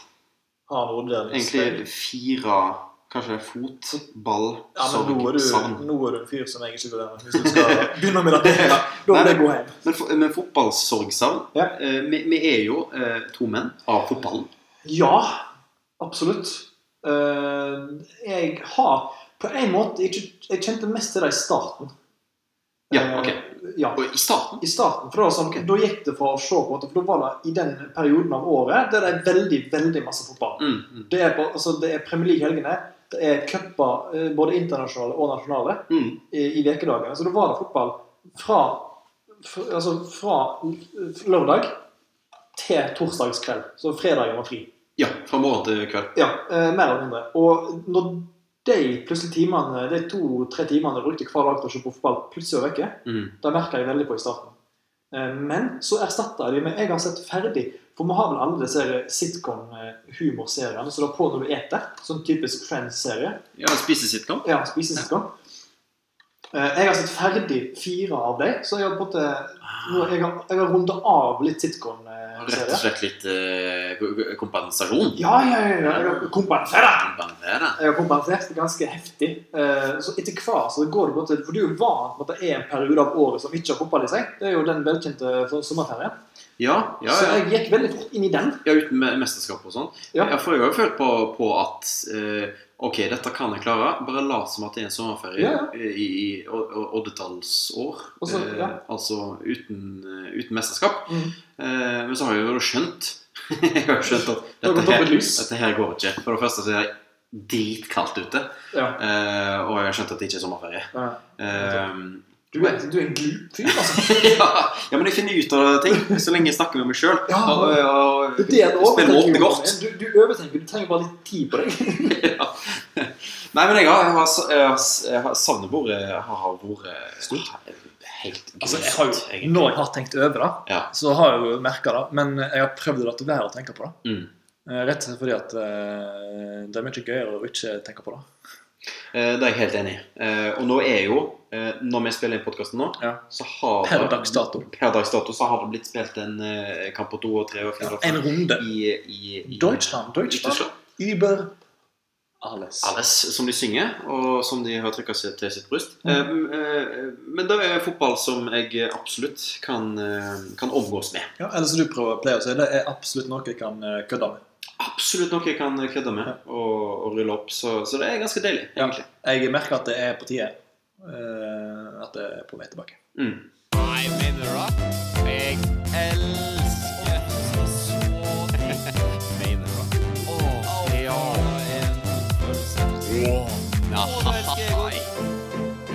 Har en orddeling.
Egentlig fire Kanskje fot, ball,
ja, men nå er,
sorg, savn.
du, nå er du en fyr som jeg ikke vil være med. Hvis du skal begynne med det. Ja, da
Nei,
vil jeg
men-
gå hjem.
Men, fo- men fotballsorgsavn
Ja.
eh, vi, vi er jo eh, to menn av fotballen.
Ja, absolutt. Eh, jeg har på en måte ikke Jeg kjente mest til det i starten.
Ja, ok.
Eh, ja.
Og I starten
I starten, for da, var det sånn, da gikk det fra å se på en måte, for da var det i den perioden av året der det er veldig, veldig masse fotball.
mm, mm,
Det er, på- altså, det er Premier League helgene, det er cuper eh, både internasjonale og nasjonale
mm.
i i vekedagene. Så da var det fotball fra, fra, altså fra l- lørdag til torsdagskveld. Så fredagen var fri.
Ja, fra morgen til kveld.
Ja, eh, mer eller mindre. Og når de plutselig timene, de to-tre timene jeg brukte hver dag til å se på fotball, plutselig var vekke,
Mm.
det merka jeg veldig på i starten. Eh, Men så erstatta jeg de med Jeg har sett ferdig. For vi har vel alle disse eh, her sitcom-humorseriene som du har på når du eter. Sånn typisk Friends-serie.
Ja, spise sitcom.
Ja, spisesitcom. Eh, Jeg har sett ferdig fire av dem, så jeg har, på en måte- nå- jeg har, jeg har runda av litt
Rett og
sitcom-serier.
slett litt eh, g- g- kompensasjon.
Ja, ja, ja, ja. Jeg har kompensert!
Kompensere.
Jeg har kompensert ganske heftig. Eh, Så etter hvert så går det på en måte For du er jo vant med at det er en periode av året som ikke har fotball i seg. Det er jo den velkjente for- sommerferien.
Ja, ja,
Så
ja.
jeg gikk veldig fort inn i den.
ja uten me- mesterskap og sånn.
Ja.
Ja, for jeg har jo følt på, på at eh, OK, dette kan jeg klare. Bare lat som at det er en sommerferie
Ja, ja.
eh, i, i o- o- oddetallsår.
Og så-
Eh,
ja.
Altså uten, eh, uten mesterskap.
Mm.
Eh, men så har jeg jo skjønt Jeg har jo skjønt at
har
dette
gått opp
her,
et lys.
dette her går ikke. For det første så er det dritkaldt ute.
Ja.
Eh, og jeg har skjønt at det ikke er sommerferie. Eh,
Du, er, du er en glup fyr, altså.
ja, ja, men jeg finner ut av ting så lenge jeg snakker med meg sjøl.
Ja.
og, og,
Det er det
og spiller med åpne kort.
overtenker. Du, du overtenker. Du trenger bare litt tid på deg.
Nei, men jeg har, jeg har, jeg har, jeg har savnebordet har har vært
Stort.
Helt
Altså, jeg har jo-
grusomt, egentlig.
Når jeg har tenkt over det,
Ja.
så har jeg jo merka det. Men jeg har prøvd å la være å tenke på det.
Mm.
Eh, Rett og slett fordi at eh, det er mye gøyere å ikke tenke på det.
Eh, Det er jeg helt enig i. Eh, Og nå er jo eh, Når vi spiller inn podkasten nå,
Ja.
så har
Per
det-
dags dato.
per dags dato så har det blitt spilt en eh, kamp på to og tre og fire og
En
fem
runde.
i, i, i
Deutschland, Deutschland,
Deutschland.
über alles.
Alles som de synger, og som de har trykka seg til sitt bryst.
Mm.
Eh, eh, Men det er fotball som jeg absolutt kan, eh, kan omgås med.
Ja, eller som du prøver å pleie å si, det er absolutt noe jeg kan eh, kødde med.
Absolutt noe jeg kan kødde med og, og rulle opp, så, så det er ganske deilig,
Ja.
egentlig.
Jeg merker at det er på tide. eh, at det er på vei tilbake.
Mm.
Jeg minner opp. Jeg elsker så Mener opp. Åh, ja. Nei.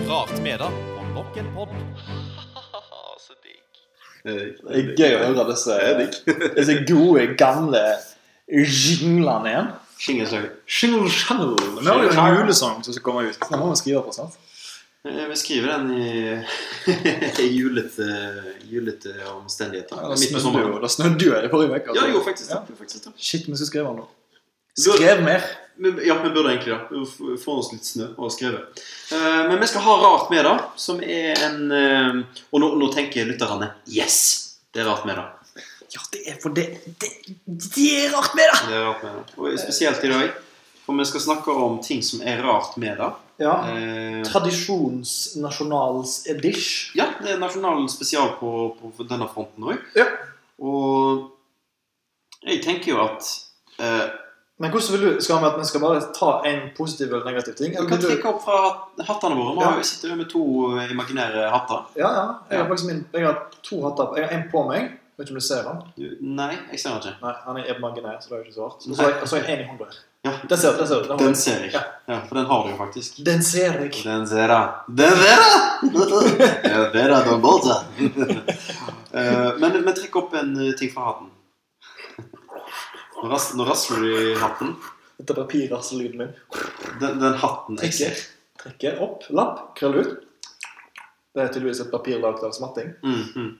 Rart med da. På nok en podd. Så digg.
Det er gøy å høre disse, disse gode, gamle jinglene igjen.
Skingersøy.
Shingle Shangle. Vi har jo en julesang som skal komme ut. Den må vi skrive på snart.
Eh, Vi skriver den i, i julete, julete omstendigheter.
Det
Midt
snødde
på
jo,
sommeren.
det snødde jo i forrige uke. altså.
Ja, jo, faktisk.
Ja.
det, faktisk det.
Shit, vi skulle skrive den nå.
Burde-
Skrev mer.
Men- Ja, vi burde egentlig det. Vi får- Får oss litt snø og skrevet. Eh, Men vi skal ha Rart med, da. Som er en eh, Og nå, nå tenker lytterne Yes! Det er Rart med, da.
Ja, det er for det Det, det er rart med det!
Det er rart med det. Og spesielt i dag. For vi skal snakke om ting som er rart med det.
Ja.
Eh,
Tradisjonsnasjonals-edish.
ja, det er nasjonal spesial på, på denne fronten òg.
Ja.
Og jeg tenker jo at eh,
Men hvordan vil du, skal vi at vi skal bare ta en positiv eller negativ ting?
Vi
Eller
kan
vil du,
trekke opp fra hat- hattene våre. Vi
Ja.
har jo- sitter jo med to eh, imaginære hatter.
ja, ja. Jeg har faktisk min, jeg har to hatter på. Jeg har en på meg. Vet ikke om du ser den.
Du- Nei, jeg ser den ikke.
Nei, han er imaginær, så det er jo ikke svart. Og så har jeg- og så har jeg en i hånda her.
Ja,
Den ser du, den ser du.
Den
Den,
ser jeg. Ja, for den har du jo faktisk.
den ser jeg.
Den ser jeg. Den ser jeg! Den ser jeg, den bolta. Eh, Men, men trekk opp en eh, ting fra hatten. Nå ras- Nå rasler du i hatten.
Dette papirrassellyden min.
Den, den hatten jeg
Trekker.
ser.
Trekker opp. Lapp. Krøll ut. Det er tydeligvis et papir laget av smatting.
Mm, mm,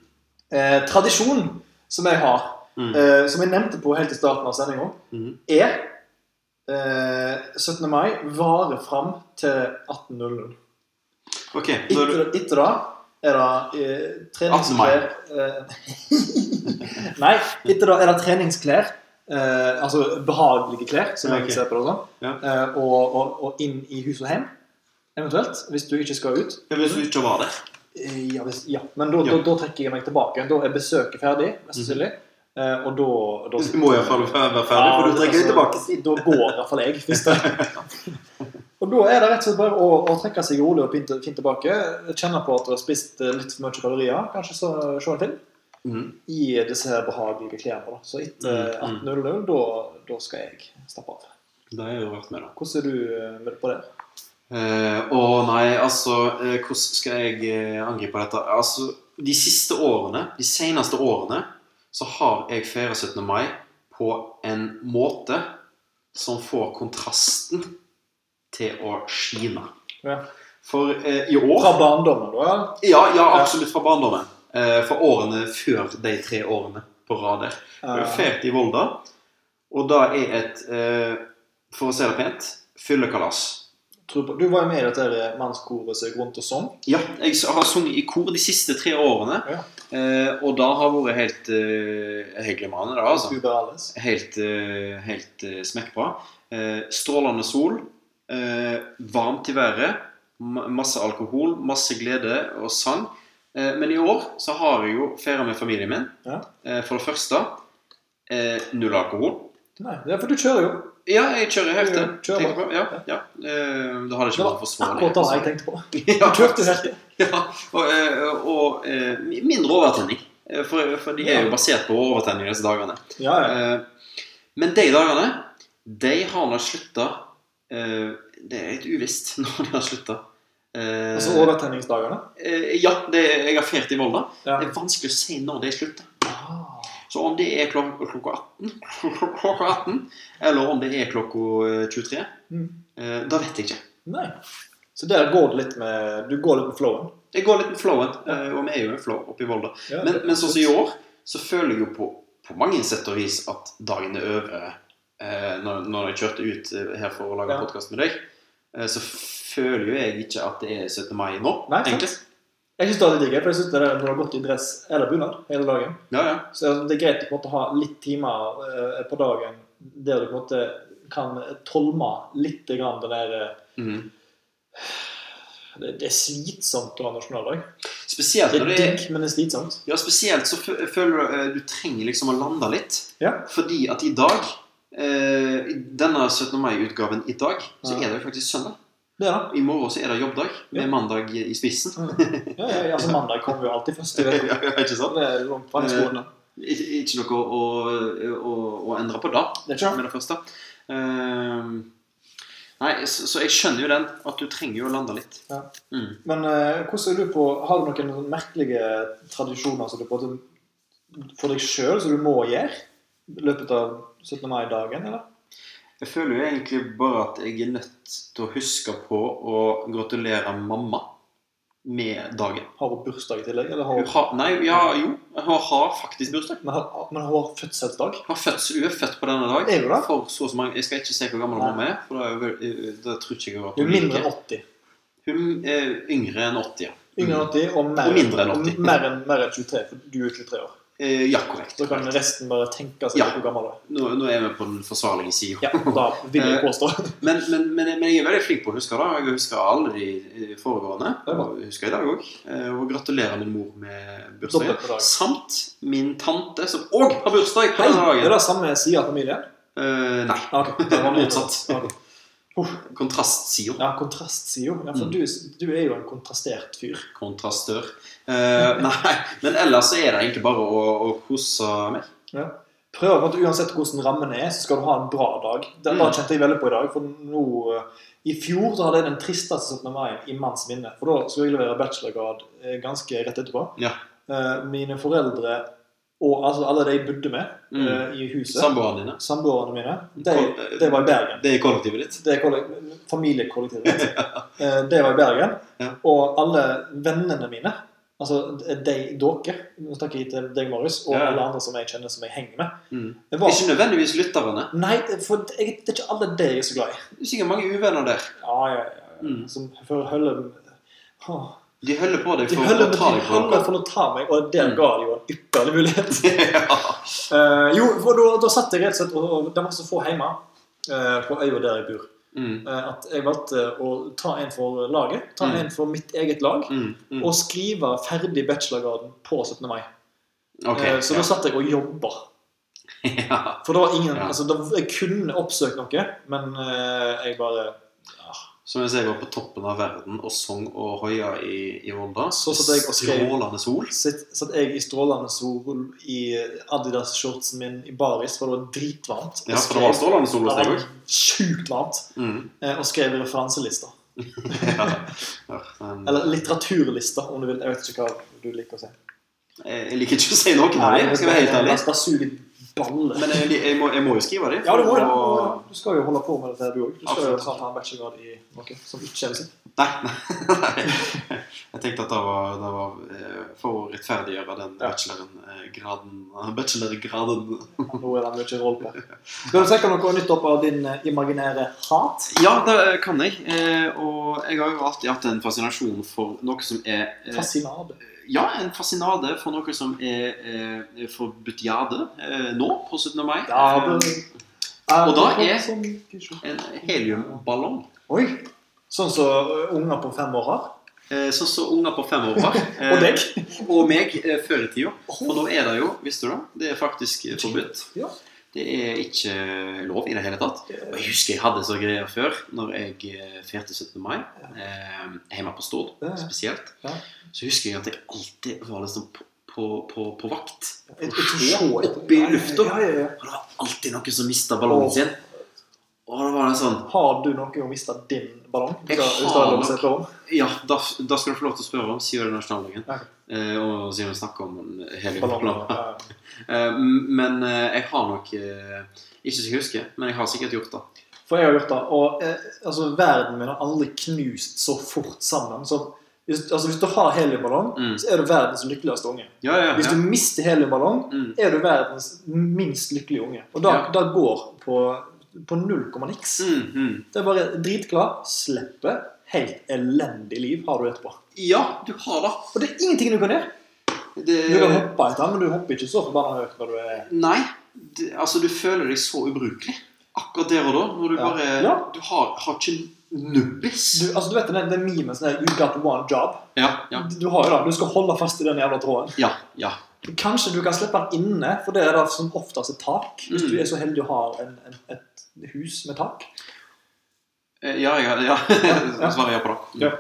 Eh, tradisjon som jeg har,
mm,
eh, som jeg nevnte på helt i starten av sendinga,
mm.
er eh, 17. mai varer fram til 18.00.
Ok, nå er
Etter,
du
etter da er det eh,
18. mai.
treningsklær eh, Nei, etter da er det treningsklær. Eh, altså behagelige klær, som
Ja,
jeg
ok.
ser på det sånn.
Ja.
Eh, og, og, og inn i hus og hjem, eventuelt. Hvis du ikke skal ut.
Ja, Hvis du ikke var der.
Eh, Ja, hvis, ja. men da,
Ja. Mhm.
da, da trekker jeg meg tilbake. Da er besøket ferdig, mest sannsynlig. Eh, og da, da
Du må iallfall være ferdig,
Ja,
for du
det-
trekker
altså-
det tilbake. siden.
Da går i hvert fall jeg. Hvis det. Og da er det rett og slett bare å, å trekke seg rolig og fint, fint tilbake. Kjenne på at du har spist eh, litt for mye kalorier. Kanskje så se en film.
Mm.
I disse her behagelige klærne. da. Så etter
Mm,
18.00, da, da skal jeg stappe av.
Da har jeg jo vært med, da.
Hvordan er du eh, med på det?
Eh, Å nei, altså eh, Hvordan skal jeg eh, angripe dette? Altså, De siste årene, de seneste årene, så har jeg feira 17. mai på en måte som får kontrasten til å skine.
Ja.
For eh, i år
Fra barndommen, da? ja?
Ja, ja absolutt fra barndommen. Eh, fra årene før de tre årene på rad der. Jeg
Eh,
feiret i Volda, og det er et, eh, for å si det pent, fyllekalas.
tror på- Du var jo med i dette her mannskoret som gikk rundt og sang.
Ja, jeg har sunget i kor de siste tre årene.
Ja.
Eh, og da har vært helt eh, helt glimrende, da. Altså.
Uber Alice.
Helt, eh, helt eh, smekkbra. Eh, strålende sol. Eh, varmt i været. ma- Masse alkohol, masse glede og sang. Eh, men i år så har jeg jo feira med familien min.
Ja.
Eh, for det første eh, null alkohol.
Nei, det er for du kjører jo.
Ja, jeg kjører helt til.
Ja, kjør
Tenker på- Ja, ja. Eh, da har
Det
det ikke
var
vært forsvarlig.
akkurat det jeg tenkte på. Du
Ja.
kjørte helt til.
Ja, og, eh, og eh, mindre overtenning. Eh, For, for de er jo basert på overtenning disse dagene.
Ja, ja.
Eh, Men de dagene, de har nå slutta Det er litt uvisst når de har slutta.
Altså
Eh.
overtenningsdagene.
Ja, det, jeg har feiret i Volda.
Ja.
Det er vanskelig å si når de slutter.
Ah.
Så om det er klok klokka 18, klokka 18, eller om det er klokka eh, 23,
Mm.
eh, da vet jeg ikke.
Nei. Så der går det litt med Du går litt med flowen.
Jeg går litt med flowen, eh, og vi er jo en flow oppe i Volda.
Ja,
Men, men sånn som i år, så føler jeg jo på, på mange sett og vis at dagen er over. Eh, når, når jeg kjørte ut eh, her for å lage
Ja.
podkast med deg, eh, så føler jo jeg ikke at det er 17. mai nå,
Nei, sant.
egentlig.
Jeg syns det er litt digg, for jeg synes det er når du har gått i dress eller bunad hele dagen,
Ja, ja.
så er det greit å på en måte ha litt timer eh, på dagen der du på en måte kan tolme litt grann det der eh,
Mhm.
Det, det er slitsomt å ha nasjonaldag.
Spesielt
Det
når
er
det er
digg, men det er slitsomt.
Ja, spesielt så fø- føler du eh, du trenger liksom å lande litt.
Ja.
Fordi at i dag, eh, i denne 17. mai-utgaven i dag, så
Ja.
er det jo faktisk søndag.
Det er det.
I morgen så er det jobbdag, med
Ja.
mandag i spissen.
Ja, ja, ja, altså mandag kommer jo alltid først. i
Ja,
uka.
ikke sant?
Det er langt fra i skolen.
Ikke, ikke noe å, å, å endre på da,
Det er ikke sant?
med det første. Ehm, nei, så, så jeg skjønner jo den, at du trenger jo å lande litt.
Ja.
Mm.
Men eh, hvordan er du på Har du noen sånne merkelige tradisjoner som du på en måte for deg sjøl som du må gjøre i løpet av 17. mai-dagen, eller?
Jeg føler jo egentlig bare at jeg er nødt til å huske på å gratulere mamma med dagen.
Har hun bursdag i tillegg? Eller har
Hun
hun,
har, nei, ja, jo, hun har faktisk bursdag.
men, har, men har hun fødselsdag?
Hun, har fødsel, hun er født på denne dag.
Er hun det?
For så og så mange, jeg skal ikke si hvor gammel
Nei.
mamma er, for da, er hun vel- eh, da tror ikke jeg at
Hun er
hun
mindre enn
liker.
80.
Hun er yngre enn 80, ja.
Yngre enn 80 og mer,
Og mindre enn 80.
mer enn mer enn 23, for du er 23 år.
Eh, ja, korrekt.
Så kan resten bare tenke seg
Ja.
hvor gammel du er.
Nå, nå er vi på den forsvarlige
Ja,
sida.
da vil
Eh,
jeg påstå.
Men, men, men, men jeg er veldig flink på å huske det. Jeg husker alle de eh, foregående.
Det er bra.
Og jeg husker i dag òg. Og gratulerer min mor med bursdagen.
Dobbelt på dagen.
Samt min tante, som òg har bursdag på
Hei,
denne
er
dagen.
det samme side av familien?
Eh, nei.
Ah, ok.
Det var motsatt.
Ok.
Kontrastsida.
Ja, kontrast sier jo. Ja, for
Mm.
du, du er jo en kontrastert fyr.
Kontrastør. Eh, nei. Men ellers så er det egentlig bare å, å kose meg.
Ja. Prøv at uansett hvordan rammen er, så skal du ha en bra dag. Det
Mm.
da kjente jeg veldig på i dag. For nå, eh, I fjor så hadde jeg den tristeste 17. mai i manns minne. For da skulle jeg levere bachelorgrad eh, ganske rett etterpå.
Ja.
Eh, Mine foreldre og altså alle de jeg bodde med
Mm.
eh, i huset,
Samboerne dine.
samboerne mine,
Kol-
de, de var i Bergen.
Det er kollektivet ditt.
Det er kollek- familiekollektivet. Eh, Det var i Bergen.
Ja.
Og alle vennene mine, altså de, dere, nå snakker jeg til deg, Marius, og
Ja.
alle andre som jeg kjenner som jeg henger med
Mm.
det var,
Ikke nødvendigvis lytterne.
Nei, for jeg, det er ikke alle de jeg er så glad i.
Det er sikkert mange uvenner der.
Ja, ja, ja.
Mm.
Som for å holde Åh,
De holder på deg
De
for å
holder
ta
de
deg på
holder for å ta meg, og der
Mm.
ga de jo en ypperlig mulighet.
ja.
Eh, jo, for da, da satt jeg rett og slett og, og Det var så få hjemme eh, på øya der jeg bor.
Mm.
eh, at jeg valgte å ta en for laget. Ta
Mm.
en for mitt eget lag.
Mm. Mm.
Og skrive ferdig bachelorgraden på 17. mai.
Ok,
Eh, så
ja.
da satt jeg og jobba
ja.
For det var ingen
Ja.
altså, det, Jeg kunne oppsøkt noe, men eh, jeg bare
Så mens jeg var på toppen av verden og sang og hoia i, i Volda
Så satt jeg og skrev.
Strålende sol.
satt, satt jeg i strålende sol i Adidas-shortsen min i baris, for det var dritvarmt.
Ja, for det var strålende sol hos
det
deg
var
òg.
sjukt varmt.
Mm.
eh, Og skrev i referanselister.
Ja. Ja, men-
Eller litteraturlister, om du vil. Jeg vet ikke hva du liker å si.
Jeg jeg liker ikke å si noen av dem, skal jeg være helt ærlig.
Bare- Bare sug i balle.
Men jeg, jeg, må, jeg må jo skrive dem.
ja, du må jo det. Du skal jo holde på med dette, du òg. Du skal jo
Absolutt.
snart ha en bachelorgrad i noe som ikke er musikk.
Nei, nei. Jeg tenkte at det var, det var eh, for å rettferdiggjøre den
Ja.
bachelorgraden eh, Bachelorgraden
Nå er det mye roll på. Skal du tenke noe nytt opp av din eh, imaginære hat?
Ja, det kan jeg. Eh, Og jeg har jo alltid hatt en fascinasjon for noe som er eh,
Fascinade.
Ja, en fascinade for noe som er eh, forbudt jade eh, nå, på 17. mai.
Ja, det...
Og da er-
sånn er
Eh, En heliumballong.
Oi! Sånn som eh, unger på fem år har?
Eh, Sånn som unger på fem år var.
Eh, Og deg?
Og meg eh, før i tida. For nå er det jo, visste du det, det er faktisk eh, forbudt.
Ja.
Det er ikke eh, lov i det hele tatt. Og jeg husker jeg hadde så greier før, når jeg eh, feirte 17. mai, eh, hjemme på Stord
Ja, ja.
spesielt.
Ja.
Så husker jeg at jeg alltid var liksom på, på, på, på vakt.
Et- et sjå-
Oppe i lufta.
Ja, ja, ja.
Og det var alltid noen som mista ballongen
Åh.
sin. Og det var det sånn
Har du noen gang mista din ballong?
Jeg
Hvis det- hvis det
har
er lov å
nok.
si fra om.
Ja, da, da skal du få lov til å spørre om siden av nasjonaldagen.
Ok.
Eh, og siden vi snakker om hele
Ballong,
eh,
ja.
Men eh, jeg har nok eh, Ikke så jeg husker, men jeg har sikkert gjort det.
For jeg har gjort det. Og eh, altså, verden min har aldri knust så fort sammen. som hvis, altså, hvis du har heliumballong,
Mm.
så er du verdens lykkeligste unge.
Ja, ja,
Hvis
ja.
du mister heliumballong,
Mm.
er du verdens minst lykkelige unge. Og da,
Ja.
da går på, på null komma niks.
Mm, mm.
Det er bare dritklar, slippe, helt elendig liv har du etterpå.
ja, du har det.
Og det er ingenting du kan gjøre.
det
Du kan hoppe etter han, men du hopper ikke så forbanna høyt når du er
Nei. Det, altså, du føler deg så ubrukelig akkurat der og da. Når du
Ja.
bare
Ja.
Du har, har ikke nubbis.
du, altså, du vet den, den memen sånn her, You got one job.
Ja, ja,
Du har jo det. Du skal holde fast i den jævla tråden.
ja, ja.
Kanskje du kan slippe den inne, for det er det som oftest et tak. Hvis
Mm.
du er så heldig å ha en, en, et hus med tak.
Eh, Ja, ja, ja.
ja.
svarer jeg på det.
Ja.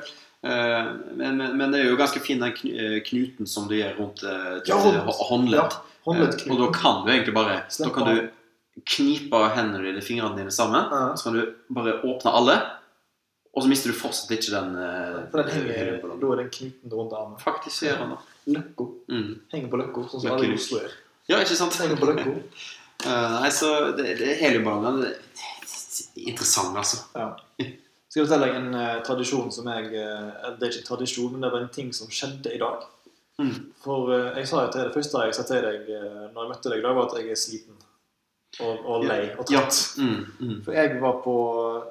Eh, Men, men, men det er jo ganske fin den kn- eh, knuten som du gjør rundt eh, ditt
Ja, rundt.
hå- håndledd.
Ja, håndledd
Eh, og da kan du egentlig bare Da
Slipp
kan
av.
du knipe hendene dine, fingrene dine sammen.
Ja.
Så kan du bare åpne alle, og så mister du fortsatt ikke den eh,
For den henger,
hele ballonen.
da er den knuten rundt armen.
Faktisk gjør han det.
Løkka.
Mm.
Henger på løkka, sånn som
Løkka.
alle i Oslo gjør.
Ja, ikke sant?
Henger på løkka.
Eh, nei, så det, det heliumballongene det er Interessant, altså.
Skal jeg fortelle deg en eh, tradisjon som jeg eh, Det er ikke tradisjon, men det var en ting som skjedde i dag.
Mm.
For eh, jeg sa jo til deg det første jeg sa til deg eh, når jeg møtte deg i dag, var at jeg er sliten og, og lei og
Ja.
trøtt.
Mm, mm.
For jeg var på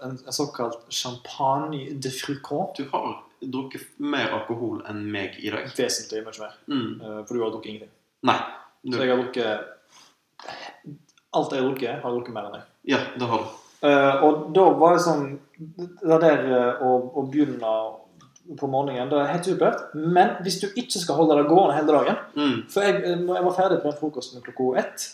en, en såkalt champagne de frucon.
Du har drukket mer alkohol enn meg i dag.
Vesentlig mye mer.
Mm.
eh, For du har drukket ingenting.
Nei.
Så
Du-
jeg har drukket Alt jeg har drukket, har jeg drukket mer enn deg.
Ja, det har du.
Eh, og da var det sånn Det der eh, å, å begynne på morgenen, det er helt supert. Men hvis du ikke skal holde det gående hele dagen
Mm.
For jeg, eh, når jeg var ferdig på den frokosten klokka ett.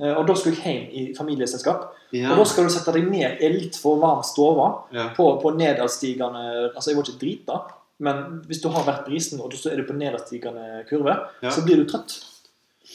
eh, Og da skulle jeg hjem i familieselskap.
Ja.
Og da skal du sette deg ned i en litt for varm stove
ja.
på, på nedadstigende Altså, jeg var ikke drita, men hvis du har vært brisen, og så er du på nedadstigende kurve,
Ja.
så blir du trøtt.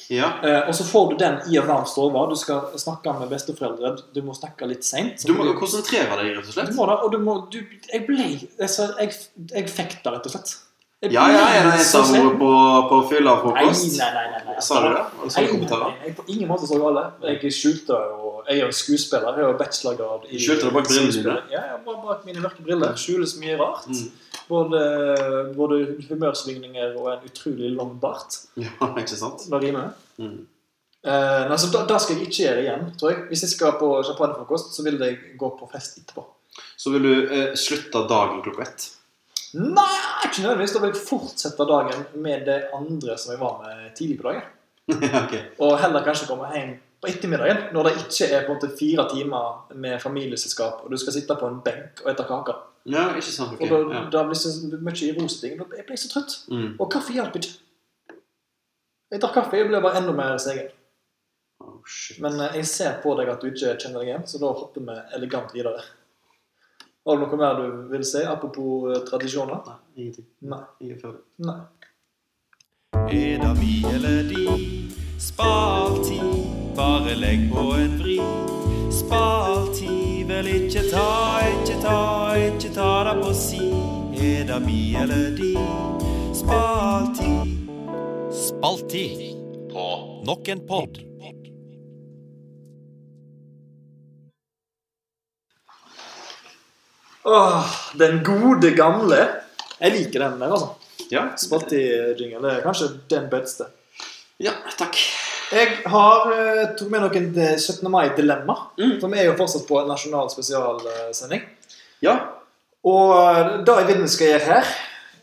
ja.
Eh, og så får du den i en varm stove. Du skal snakke med besteforeldre. Du må snakke litt seint.
Du må jo konsentrere deg, rett og slett.
Du må da, og du må du, Jeg ble altså, jeg, jeg fikk det, rett og slett. Jeg
Ja, ja, er det en
så
som
sent.
var på, på fylla og
Nei,
frokost?
nei, nei. nei, nei.
Sa du det? Og så
Nei, nei,
kommentarer?
nei, jeg på ingen måte så gale. Jeg skjulte det jo. Jeg er jo skuespiller. Jeg har jo bachelorgrad i
Skjulte det bak brillene dine?
skuespilling. Ja, jeg bare bak mine mørke briller. Skjules mye rart.
Mm.
Både, både humørsvingninger og en utrolig lang bart.
Ja, ikke sant?
Da rimer det.
Mm.
Eh, nei, så da, da skal jeg ikke gjøre det igjen, tror jeg. Hvis jeg skal på champagnefrokost, så vil jeg gå på fest etterpå.
Så vil du eh, slutte dagen klokka ett.
Nei, ikke nødvendigvis. Da vil jeg fortsette dagen med det andre som jeg var med tidlig på dagen.
ok.
Og heller kanskje komme hjem på ettermiddagen, når det ikke er på en måte fire timer med familieselskap, og du skal sitte på en benk og ete kake.
Ja, ikke sant. Ok.
Og da,
Ja.
da blir det så mye rosting. Da ble jeg ble så trøtt.
Mm.
Og kaffe hjalp ikke. Jeg drakk kaffe, jeg ble bare enda mer segen.
Oh, shit.
Men eh, jeg ser på deg at du ikke kjenner deg igjen, så da hopper vi elegant videre. Har du noe mer du vil si apropos eh, tradisjoner?
Nei, ingenting.
Nei.
Jeg er ferdig.
Nei.
Er det vi eller de? Spar tid, bare legg på en vri. Spar tid, vel ikke ta, ikke ta, ikke ta det på si. Er det vi eller de? Spar tid. Spaltid på nok en pod.
Åh, den gode gamle. Jeg liker den der, altså.
Ja.
Spalti-jingle er kanskje den beste.
ja, Eh, takk.
Jeg har eh, tok med noen eh, 17. mai-dilemma.
Mm.
For vi er jo fortsatt på en nasjonal spesialsending.
Ja.
Og eh, det jeg vil vi skal gjøre her,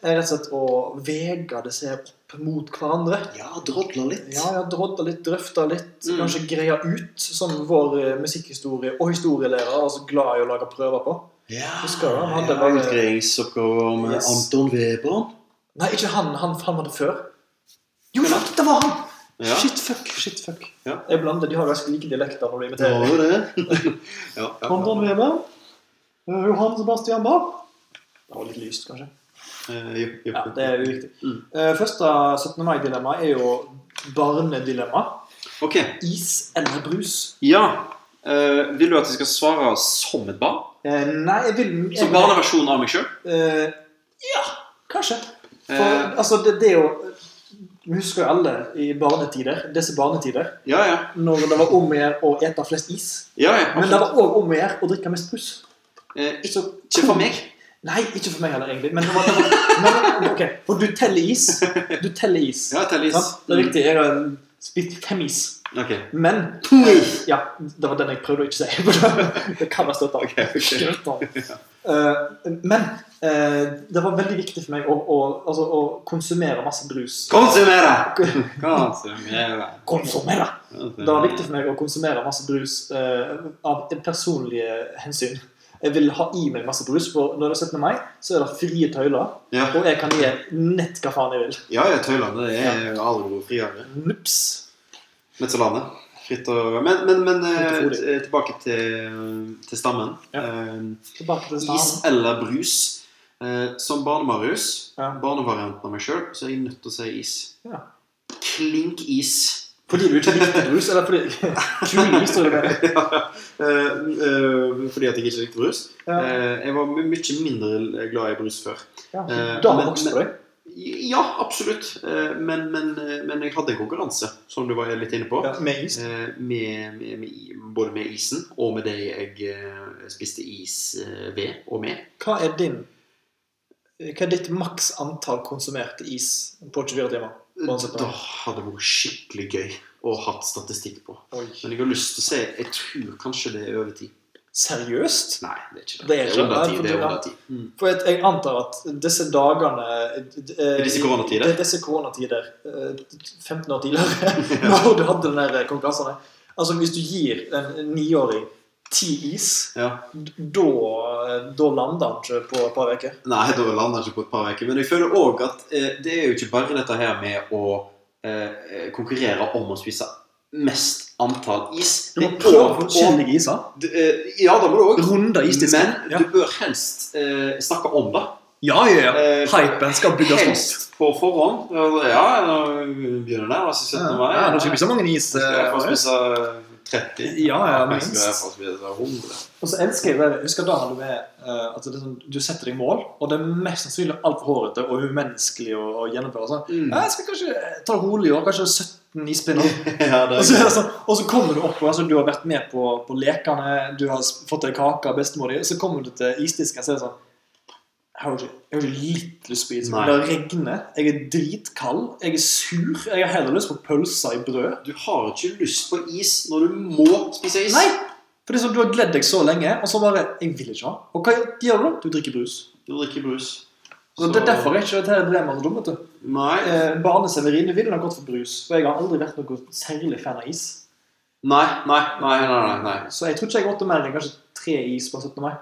er rett og slett å vege disse her opp mot hverandre.
ja, drodla litt.
Ja, ja, drodda litt, drøfta litt,
Mm.
kanskje greia ut, som vår eh, musikkhistorie- og historielærer var så glad i å lage prøver på.
Ja,
Husker du han hadde
ja,
bare-
Utgreiingsoppgaver med
Yes.
Anton Weber.
Nei, ikke han. Han, han var det før. Jo, fuck, det var han!
Ja.
Shit, fuck. shit, fuck.
Ja.
Jeg blander, De har jo ganske like dialekter når de
Det
imiterer.
var jo det. ja, ja,
Anton Weber. eh, Johan Sebastian Bach. Det var litt lyst, kanskje.
Eh, jo, jo.
Ja, det er uviktig.
Mm.
Eh, Første 17. mai-dilemma er jo barnedilemma.
Ok.
Is eller brus?
Ja. eh, vil du at jeg skal svare som et barn?
Eh, Nei, jeg vil
Som barneversjonen av meg sjøl?
Eh, Ja, kanskje. For
Eh.
altså, det, det er jo Vi husker jo alle i barnetider, disse barnetider,
ja, ja.
når det var om å gjøre å ete flest is.
ja, ja
Men det
absolutt.
var òg om å gjøre å drikke mest brus.
Eh, ikke,
Så
ikke for meg.
Nei, ikke for meg heller, egentlig. Men, det var, det var, men ok, for du teller is. Du teller is.
Ja, tell is.
Sant? Det er riktig. Jeg har spist fem is.
Ok.
Men
is.
Ja, det var den jeg prøvde å ikke si. det kan være støtta.
Ok, ok.
men eh, det var veldig viktig for meg å, å, altså, å konsumere masse brus.
Konsumere! Konsumere.
Konsumere! Det var viktig for meg å konsumere masse brus eh, av personlige hensyn. Jeg vil ha i meg masse brus, for når det er 17. mai, så er det frie tøyler.
Ja,
Og jeg kan gi nett hva faen jeg vil.
ja, ja Tøyland det er jo aldri noe friere.
Nups.
Mezzolandet. Fritt og Men, men, men eh,
Fritt og frodig.
t- tilbake til, til stammen.
Ja.
Eh,
Tilbake til
is
staden.
eller brus. Eh, som barne-Marius,
Ja.
barnevarianten av meg sjøl, så er jeg nødt til å si is.
Ja.
Klink is.
Fordi du ikke likte brus, eller fordi Kul historie. men-
Eh, eh, fordi at jeg ikke likte brus.
Ja.
Eh, jeg var my- mye mindre glad i brus før.
Ja.
Eh,
Da har
men-
det vokst på deg.
Ja, absolutt. Eh, Men, men, men jeg hadde en konkurranse, som du var litt inne på.
Ja, med is.
Eh, Med, med, med, i- både med isen og med det jeg eh, spiste is eh, ved og med.
Hva er din Hva er ditt maks antall konsumerte is på 24 timer?
Da
Uansett hva.
hadde det vært skikkelig gøy å hatt statistikk på.
Oi.
Men jeg har lyst til å si Jeg tror kanskje det er over ti.
Seriøst?
Nei, det er ikke det.
Det er ikke
under
det, for du-
ti. Det er under ti. Mm.
For jeg, jeg antar at disse dagene eh,
I disse koronatider?
i- i Disse koronatider eh, 15 år tidligere, når du hadde den der konkurransen der. Altså, hvis du gir en en niåring ti is,
Ja.
d- da, da lander han ikke på et par uker.
Nei, da lander jeg ikke på et par uker. Men jeg føler òg at eh, det er jo ikke bare dette her med å eh, konkurrere om å spise mest antall is.
Du må
Det er
prøve
og-
forskjellige iser.
og- du, eh, Ja, det må du òg.
Runder isdisken.
Men
Ja.
du bør helst eh, snakke om det.
ja, ja, ja.
Eh,
Hypen skal bygges opp.
helst på forhånd. Eh, Ja, nå begynner det. Altså 17. mai.
Ja, det skal bli så mange is.
Jeg skal i hvert fall
eh,
spise 30.
Ja, ja,
Jeg skal i hvert
minst.
fall spise 100.
Og så elsker jeg det. Jeg husker da hadde vi eh, at det er sånn, du setter deg mål, og det er mest sannsynlig altfor hårete og umenneskelig å, å gjennomføre. Sånn.
Mm.
«Ja, Jeg skal kanskje ta det rolig i år, kanskje 17 ispinner.
Ja, det
Og
er
så, er det
gøy.
sånn, og så kommer du opp, og altså, du har vært med på, på lekene, du har s- fått deg kake av bestemor di, og så kommer du til isdisken, så er det sånn jeg har ikke, jeg har ikke litt lyst på is.
Nei.
Det regner, jeg er dritkald, jeg er sur. Jeg har heller lyst på pølser i brød.
Du har ikke lyst på is når du må spise is.
Nei! For det er sånn, Du har gledd deg så lenge, og så bare Jeg vil ikke ha. Og hva gjør du da? Du drikker brus.
Du drikker brus.
Så Det er derfor jeg ikke dette her dilemmaet så dumt. vet du.
Nei.
Eh, Barne-Severin ville nok gått for brus. For jeg har aldri vært noe særlig fan av is.
Nei, nei, nei. nei, nei, nei.
Så jeg tror ikke jeg åtte mer enn kanskje tre is på 17. mai.